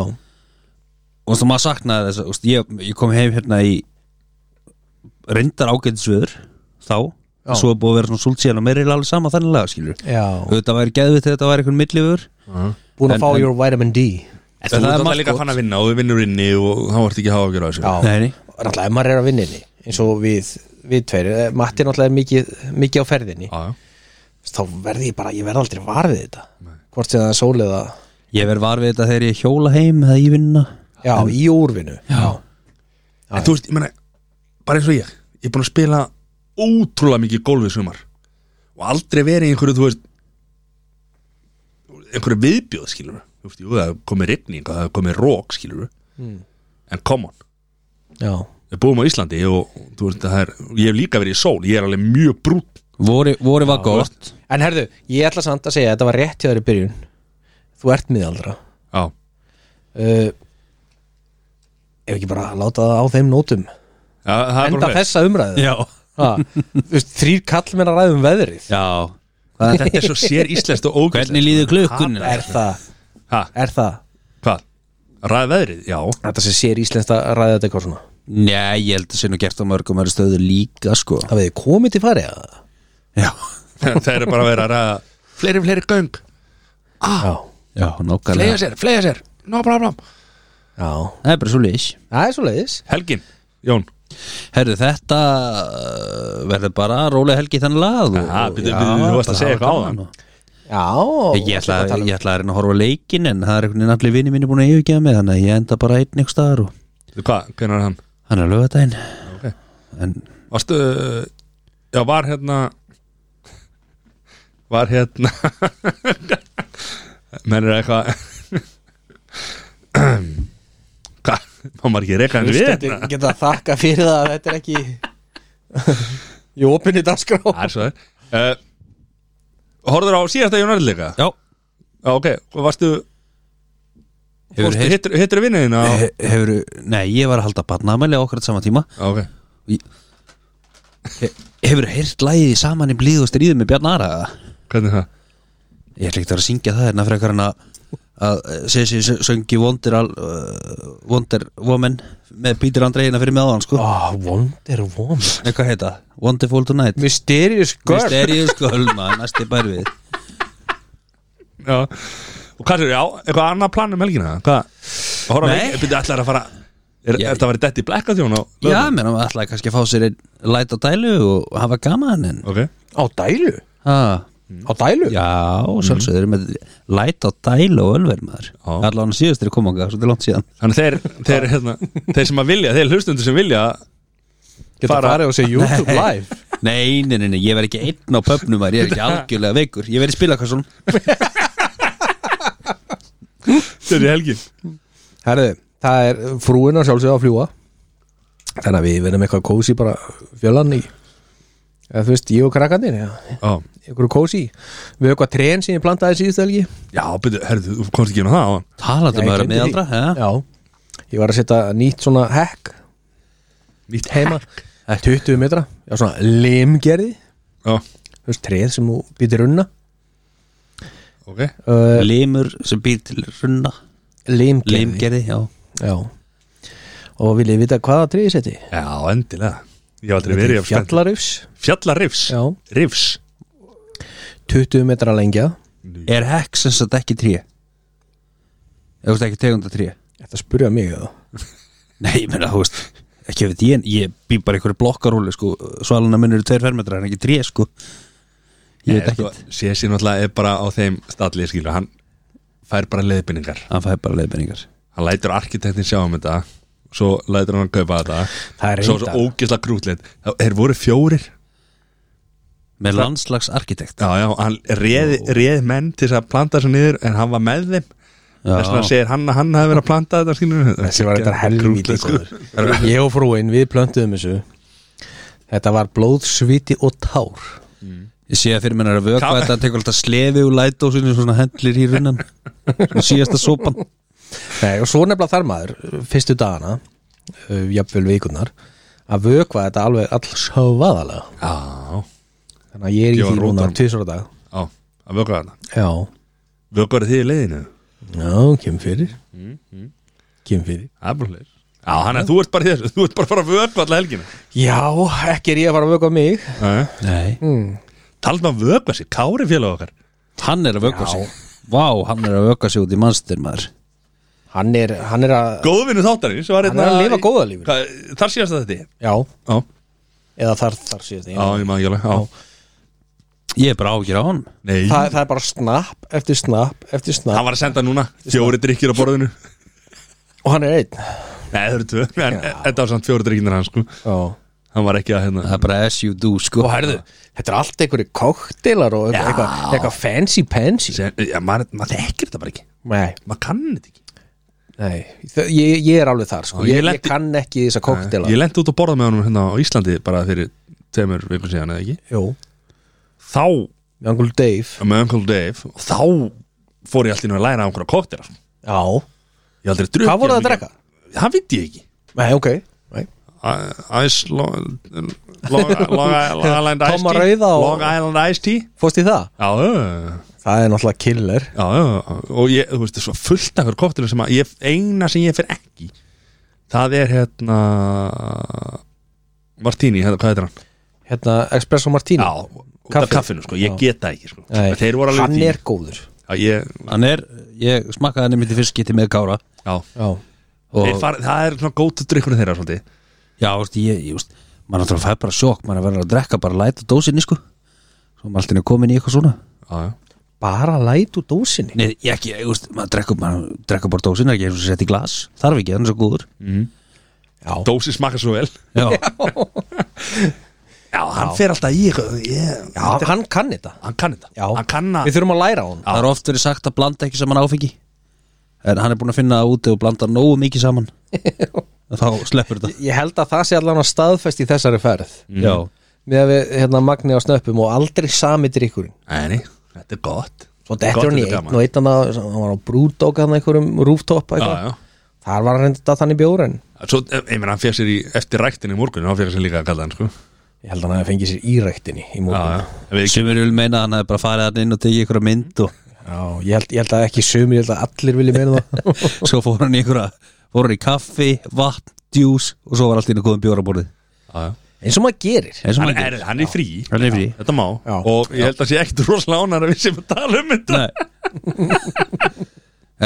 og þú maður saknaði þess úst, ég, ég kom heim hérna í reyndar ágætisviður þá,
Já.
svo er búið að vera svona súlt síðan og mér er alveg sama þannig laga skilur
já.
þetta væri geðvitt þegar þetta væri einhvern millivur
búin
En-
að fá
en-
your vitamin D
En þú
það er
ert
margt
alltaf líka
gott.
fann að vinna og við vinnur inni og þá ert ekki að hafa að gera þessu
já,
Nei, nei.
náttúrulega ef maður er að vinninni eins og við, við tveir Eh, Matti náttúrulega er mikið, mikið á ferðinni
Já, já.
þá verði ég bara, ég verð aldrei varðið þetta hvort sem það er sól eða
ég verð var við þetta þegar ég hjóla heim eða í vinna
já, í úrvinu já,
En þú veist, ég meina, bara eins og ég Ég er búin að spila ótrúlega mikið gólfið sumar Og aldrei verið í einhverju, þú veist Einhverju viðbjóð, skilur við Þú veist, jú, það er komið rigning og það er komið rók, skilur við
Hmm.
En come on,
já,
við búum á Íslandi og og þú veist, það er, ég hef líka verið í sól Ég er alveg mjög brútt
voru, voru var gott
en herðu, ég ætla samt að segja að þetta var rétt hjá þér í byrjun þú ert miðaldra
Já,
uh, ef ekki bara að láta það á þeim nótum
já það er
enda
bara þess
þessa umræðu
Já,
Ha, þú veist, þrýr kallmenn að ræðum veðrið
já. Hvað er þetta?
Þetta er svo sér íslenskt og ógæslegt
Hvernig líður klukkunni?
er það,
Ha,
er það
hvað? Ræði veðrið? Já
þetta sem sér íslenskt að ræða þetta eitthvað svona
Nei, ég held að sé nú gert á mörgum öðru stöðu líka sko
það veði komið til farið að það
Já,
Það er bara að vera að ræða Fleiri, fleiri göng
já,
já
Fleja
nákvæmlega
sér, fleja sér No problem
já,
Það er bara svo lýs
það er svo leiðis
Helgin, Jón
Herðu, þetta uh, verður bara rólega helgi þannig lað og-
Aha, byrju,
Já,
byrju, þú varst að
bara
segja
hafa
eitthvað áðan.
gaman og-
já,
Ég ætla að, um- ég ætla að reyna að horfa á leikin en það er einhvern veginn allir vini mínu búin að yfirgefa mig þannig að ég enda bara einn einhver staðar og
Þú, Hvað, hvernig er hann?
hann er lögadaginn
Ok.
En
Varstu uh, Já, var hérna Var hérna Menn er eitthvað Hvað? Má maður ekki reyka henni við
Hlustendur
hérna?
geta að þakka fyrir það að þetta er ekki í opinni dagskrá
Það er svo það uh, Horður á síðasta Jón Arleika?
já,
Já, ok, og varstu
hefur
fórstu- Hittir hittir vinnin á
He- hefur, nei, ég var að halda barnaðmæli á okkur á sama tíma
Já, Ok,
He- Hefur heyrt lægið í saman í blíð og stríðu með Bjarn Ara
hvernig er það?
Ég ætla ekki að vera að syngja það hérna frekar en að að Sessi söngi Wonder, Al- uh, Wonder Woman með Peter Andreina fyrir meðan sko
oh, Wonder Woman
Nei, hvað heita? Wonderful Tonight
Mysterious Girl
Mysterious Girl, maður, næsti bær við
já. Og hvað er, já, eitthvað annað plan um helgina? Hvað? Að Horfa
Nei.
við, byrja allar að fara Er
Já.
þetta að vera detti blekkaþjón á
Já, menn hann ætlaði kannski að fá sér einn læt á dælu og hafa gaman en
Ok,
Á dælu?
ha,
Á dælu?
Já,
Mhm.
sjálfsögður mm. með læt á dælu og ölver maður
Já.
Allan síðust þeir koma okkar, svo til langt síðan
þannig þeir, þeir, hérna, þeir sem að vilja, þeir hlustundur sem vilja
Geta
Fara-
farið og segja YouTube live
Nei, nei, nei, nei, ég verð ekki einn á pöpnum maður, ég er ekki algjörlega veikur Ég verð í spilakassunum
Þeir í helgin
Herðu, það er frúin að sjálfsögða að fljúa Þannig að við verðum eitthvað kósi bara fjölan í eða þú veist, ég og krakkandir
Já,
einhverju kósi, við höfum eitthvað trén sem ég plantaði síðust helgi
já byrju, herrðu, þú komst ekki inn á það áðan.
Talandi
Nei,
maður að
gleymdi því.
miðaldra ja?
Já, ég var að setja nýtt svona hekk
Nýtt
heima, 20 metra já, svona limgerði,
Já,
þú veist, treð sem þú býtir unna
ok
uh,
Eh, Limur sem býr til runna
limgerði,
Limgerði, já
já og viljið vita hvaða treð ég seti
Já, endilega Ég haf aldrei verið að
fjallarufs,
Fjallarifs
já,
Rifs
20 metra lengja
Er hekk sem sagt ekki tré? Þú veist ekki tegunda tré?
Þetta spurja mig eða
Nei, ég meina, þú veist ekki ef ég, ég bý bara í einhverju blokkarúli sko, svalina minn eru tveir fermetra en ekki tré sko
Eh,
ég veit ekkert,
Sési náttúrulega er bara á þeim stalli skilur Hann fær bara leiðbynningar
hann fæði bara leiðbendingar
Hann lætur arkitektin sjá um þetta Svo lætur hann kaupa þetta
Það er
Svo svo
reyndar
ógislega krútleit Þeir voru fjórir
með landslagsarkitekt
Já, já, hann réð, réð menn til þess að planta þessu niður En hann var með þeim Þess vegna
já,
segir hann að hann hafi verið að planta þetta skilur
Þessi var þetta helvíti góður. Ég og frúin, við plöntuðum þessu Þetta var blóð, sviti og tár
ég sé að fyrir mér er að vökva
Ká-
þetta tekur alltaf slefi úr lætósinu svona hendlir í runnan svona síðasta sopan
Nei, og svo nefnilega þar maður Fyrstu dagana, uh, jafnvel vikunar Að vökva þetta alveg all svaðalega
Já,
Þannig að ég er í
Gefa
því núna
rótunum.
tvisar á dag
já, að vöka þetta
Já,
Vöka þetta í leiðinu
já, kem fyrir Kem fyrir
Það er bara hlir Já, hann er, þú ert bara í þessu, þú ert bara að fara að vöku alla helgina
Já, ekki er ég að fara að vökva mig Hmm.
nei,
Taldum að vöku þessi, Kári félag okkar
hann er að vökva sig vá, hann er að vökva sig út í mannstur maður
Hann er, hann er að
Góðvinnu þáttarins var hérna
Hann er að lifa góða lífinu.
Þar síðast að þetta
Já,
Já,
eða þar, þar síðast
já, ég maður ekki alveg Já,
ég er bara ágjur á hann
nei
Þa, það er bara snapp eftir snapp eftir snapp
Hann var að senda núna, fjóri drikkir á borðinu Nei,
og hann er einn
það eru tvö, en þetta var samt fjóri drikkinir hans sko
oh.
Hann var ekki að hérna
það er bara as you do sko
og herðu, þetta er allt einhverju koktelar og eitthvað, eitthvað, eitthvað fancy pansy
Sem- Já, maður maður þekkir þetta bara ekki
nei,
Maður kann þetta ekki
nei Þau, ég, ég er alveg þar sko.
Já, ég
ég, ég,
lenti-
kann ekki þessa koktelar
Ég lendi út að borða með honum hérna á Íslandi bara fyrir tveimur vikur síðan eða ekki
jú,
Þá,
með angul Dave
með Uncle Dave og Þá fór ég allt í nú að læra á einhverja kóttir Ég
já,
hef aldrei drukkið
hvað voru
jafn
það að
mikið.
drekka?
Það veit ég ekki
nei, ok nei.
Ice Long, long, long Island Ice
Tomma
Tea
rauða og-
Long Island Ice Tea
fórst í það?
Já, já,
það er náttúrulega killer
já, já, já. og ég, þú veist, það er svo fullt af hverju kóttilum sem að ég, eina sem ég fer ekki það er hérna Martini, hérna, hvað heitir hann?
hérna, Espresso Martini
Já, út af
Kaffi.
kaffinu, sko, ég
Já.
get það ekki, sko
Nei,
Þeir voru alveg
hann
fínir.
er góður
Já, ég,
hann er, ég smakkaði henni mitt í fyrst geti með Kára
já
já,
og
Þeir fara, það er svona gótt drikkurinn þeirra, svolítið
Já, þú veist, ég, ég veist, maður náttúrulega fær bara sjokk, maður verður að drekka bara læta dósinni, sko Svo maður alltaf er komin í eitthvað svona
Já, já
bara læt úr dósinni
Nei, ég ekki, ég veist, maður drekkur, maður drekkur bara dósinni, ekki eins og sett í glas Þarf ekki, þannig svo góður
já,
Dósi smakar svo vel
Já,
Já, hann fer alltaf í eitthvað ég-
já hann kann þetta
Hann kann þetta
já.
Hann kann að
við þurfum að læra á hann
það er oft verið sagt að blanda ekki saman áfengi En hann er búin að finna það úti og blanda nógu mikið saman Þá sleppur þetta
Ég held að það sé allan að staðfest í þessari ferð
Mm.
Já,
með að við hérna magni á snöppum og aldrei sami drikkurinn
Nei, nei, þetta er gott
Svo dettur hann í
þetta er
einn
gaman.
og einn annað, hann var á brúdók hann einhverjum rooftop
Já,
eitthvað.
já
Þar var hann reynda þannig bjór en
Svo, eh, ég meina, hann fér sér í eftir ræktin í morgun þá fér sér líka að kalla hann, sko
ég held að hann að fengið sér íræktinni í
Já,
morgun.
já Við ekki
sem er vil meina að hann hefði bara farið hann inn og tekið ykkur mynd og
Já, ég held, ég held að ekki sumir, ég held að allir vilja meina það
svo fór hann í ykkur fór hann í kaffi, vatn, djús og svo var allt inn að góðum bjóraborðið
Já, já
eins og maður gerir
Eins og
Hann
maður
er,
gerir.
hann er frí
Hann er í frí.
Þetta má
Já.
Og ég held að sé ekkit rosalega ánar að við sem að tala um þetta
Nei,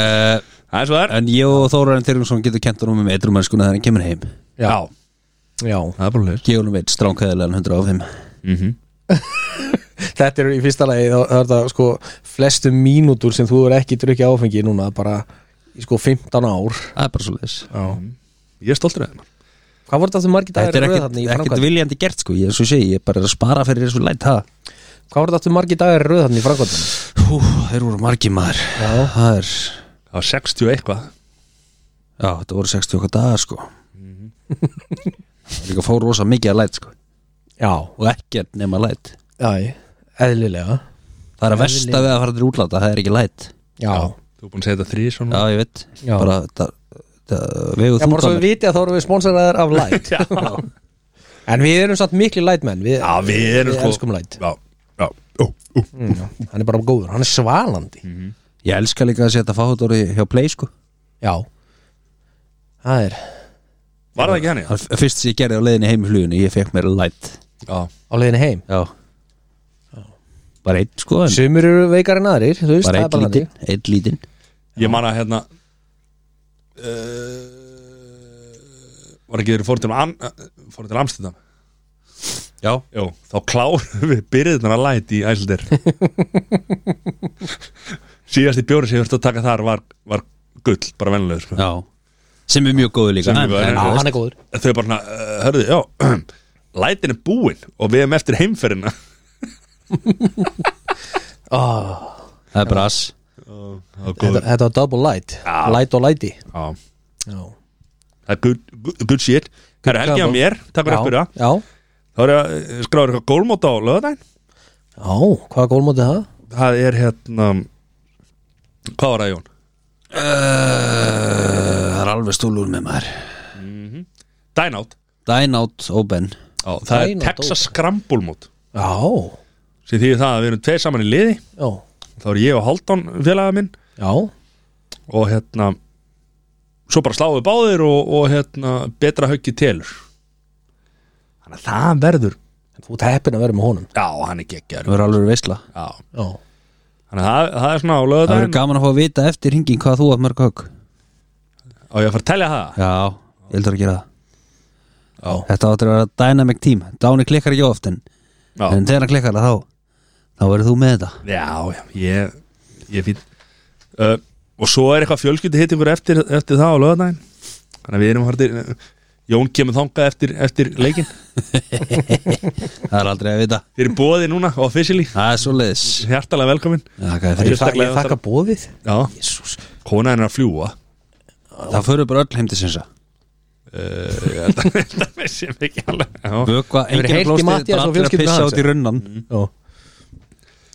uh,
Það er svo það er
En ég og Þórarinn Þyrjumsson getur kent honum um eitrumennskuna þegar hann kemur heim
Já,
já
það er bara leir
Gefa honum eitt stránkæðilegan 100 af 5
Mhm.
Þetta er í fyrsta lagi þá þá er það sko flestu mínútur sem þú er ekki drukkið áfengi núna bara í sko 15 ár
Það er bara svo leis
já.
Mhm. Ég er stoltur af þeim
Hvað voru þetta margir dagar
Þetta
í
er
röð
ekkit,
þarna í
ekkit
framkvæmd?
viljandi gert sko Ég, svo sé, ég er bara að spara fyrir þessu læt ha.
Hvað voru þetta margir dagar í röð þarna í framkvæmdunum?
Hú, þeir voru margi maður
Já.
Það er,
Það var 60 eitthvað
já, þetta voru 60 okkar dagar sko Það Líka fór rosa mikið að læt sko
Já,
Og ekkert nema læt
já, eðlilega
Það er að versta við að fara til útlanda, það er ekki læt
Já,
Þú er búin að segja þetta þrý svona
Já, ég veit
Já.
Bara, það, það, vegu
Já, bara svo
þungan
við vitið að þá erum við sponsoraðar af light En við erum samt miklu light menn Við,
Já, við erum sko
elskum light
Já, já, ó, ó
mm, já. Hann er bara góður, hann er svalandi
Mm.
Ég elska líka að setja fáhóttóri hjá Play sko
Já Það er
Var það ekki hann, já?
Það er fyrst sem ég gerði á leiðinni heim í fluginu Ég fekk mér læt
Já,
á leiðinu heim
Já Bara einn sko en
Sumir eru veikar en aðrir, þú veist, það er
Bara einn
bara
lítinn
þannig
Einn lítinn
ég man að hérna uh, Var ekki þeirri fór til, Am, fór til Amstendam
Já
Jó, þá klárum við byrðunar að læt í æsildir Síðasti bjóri sem ég verðist að taka þar var, var gull, bara vennilegur sko.
Já Sem er mjög góður líka
Sem er góður,
en,
Já,
Þú
hann er góður
Þau bara svona, uh, hörðu, já Lætin er búinn og við erum eftir heimferðina
oh,
en, Það er bara ass
Það er
þetta,
góður
þetta var double light,
Já.
light og lighty
Já
Já,
Það er good, good, good shit Það er helgi á
combo.
mér, takk fyrir að
já,
spyrja
já,
Þá er ég að eh, skráður eitthvað gólmót á lögadaginn
já hvaða gólmóti það?
Það er hérna Hvað var það Jón?
Eh, Það er alveg stúlur með maður
Dynout
Dine out open
Já, Það er
Dine Out,
Texas Scramble mót
Já,
sem þýðir það að við erum tveir saman í liði
já,
Þá er ég og Haldon félaga minn
já,
og hérna svo bara sláum við báðir og, og hérna betra höggi telur Þannig að það verður
þú ert heppin að vera með honum
Já, hann er geggjör
Það verður alveg veisla
Já
Já,
Þannig að það, það er svona á
Það verður
lögadaginn
gaman að fá að vita eftir hingin hvað þú að mörg högg
Á ég að fara að telja það
Já Ég heldur að gera það
já,
Þetta áttur að vera dynamic team Dáni klikkar ekki oft en,
Já,
en þegar hann klikkar það þá Þá verður þú með þetta
Já, já, ég, ég er fín uh, Og svo er eitthvað fjölskyldi hittingur eftir, eftir það á lögadaginn Þannig að við erum hardir Jón kemur þangað eftir, eftir leikinn
Það er aldrei að vita
Þið eru bóðið núna, officially
Það er svo leiðis
Hjartalega velkomin
Það er
ég,
fyrir
Ég
þa- ég
þakka-
þakka bóðið
Já,
Jésús
kona hennar að fljúa
Það fyrir bara öll heim til sinsa
uh, Ég held að þetta vissi ég ekki alveg Já.
Vökva,
Hefur
enginn
heyrt í
blósti,
Matthías og
bara allir að
fjölskylduna
pissa
hans,
út í runnan
Já,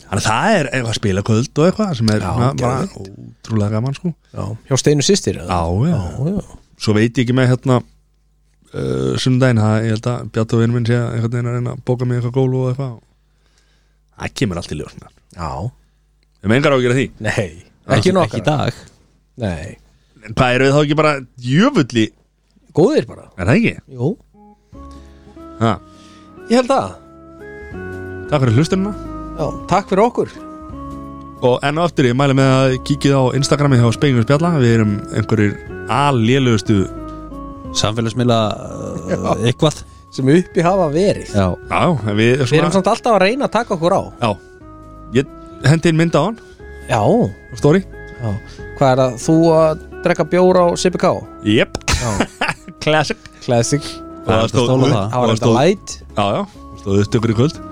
Þannig að það er eitthvað spilaköld og eitthvað sem er
Já,
svona bara
geðveikt.
ótrúlega gaman sko
já, hjá Steinu sýstir eða?
Já, já,
já, já,
svo veit ég ekki með hérna uh, sundaginn, það ég held að Bjartóvinn minn sé að einhvern veginn að reyna að bóka mig eitthvað gólu og eitthvað Það kemur allt í ljós með
já,
Við mengar á að gera því
nei, ekki nokkar
Ekki í dag
Nei,
En hvað eru við þá ekki bara jöfulli
góðir bara,
Er það ekki?
jú,
Ha,
ég held það
takk fyrir hlustununa
Já, takk fyrir okkur
Og enn og aftur ég mæli með að kíkið á Instagrami hjá Spengum Spjalla Við erum einhverjir allélugustu
Samfélagsmiðla uh, eitthvað
sem uppi hafa verið
Já,
Já, en við
Við erum
svona
samt alltaf að reyna að taka okkur á
Já, ég hendi inn mynda á hann
Já,
á Story
já. Hvað er að þú að drekka bjór á CPK?
Jep, classic
Classic
Og
Það er
það
hægt að
stóð
stóla
upp-
það.
Það
og stóð-
var þetta light
Já, já, það stóð upptökur í kvöld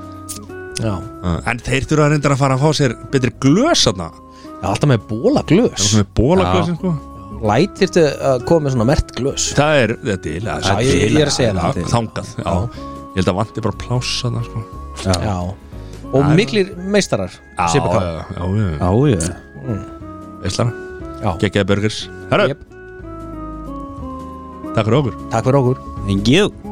Já,
Uh, En þeir þurfa að reynda að fara að fá sér betri glös þarna
já alltaf með bóla glös
Svona með bólaglösin
Já.
sko
Light þyrfti að koma með svona mert glös
Það er, þetta er til það
Já, ég- ég er að segja
Já,
það.
til. Þangað, já Ég held að vanti bara pláss þarna sko
já,
Já Og miklir meistarar CPK
já, já, já, já.
já, já.
Veistlara,
Já,
geggjaði burgers Herra,
Jep.
takk fyrir okkur
takk fyrir okkur
Thank you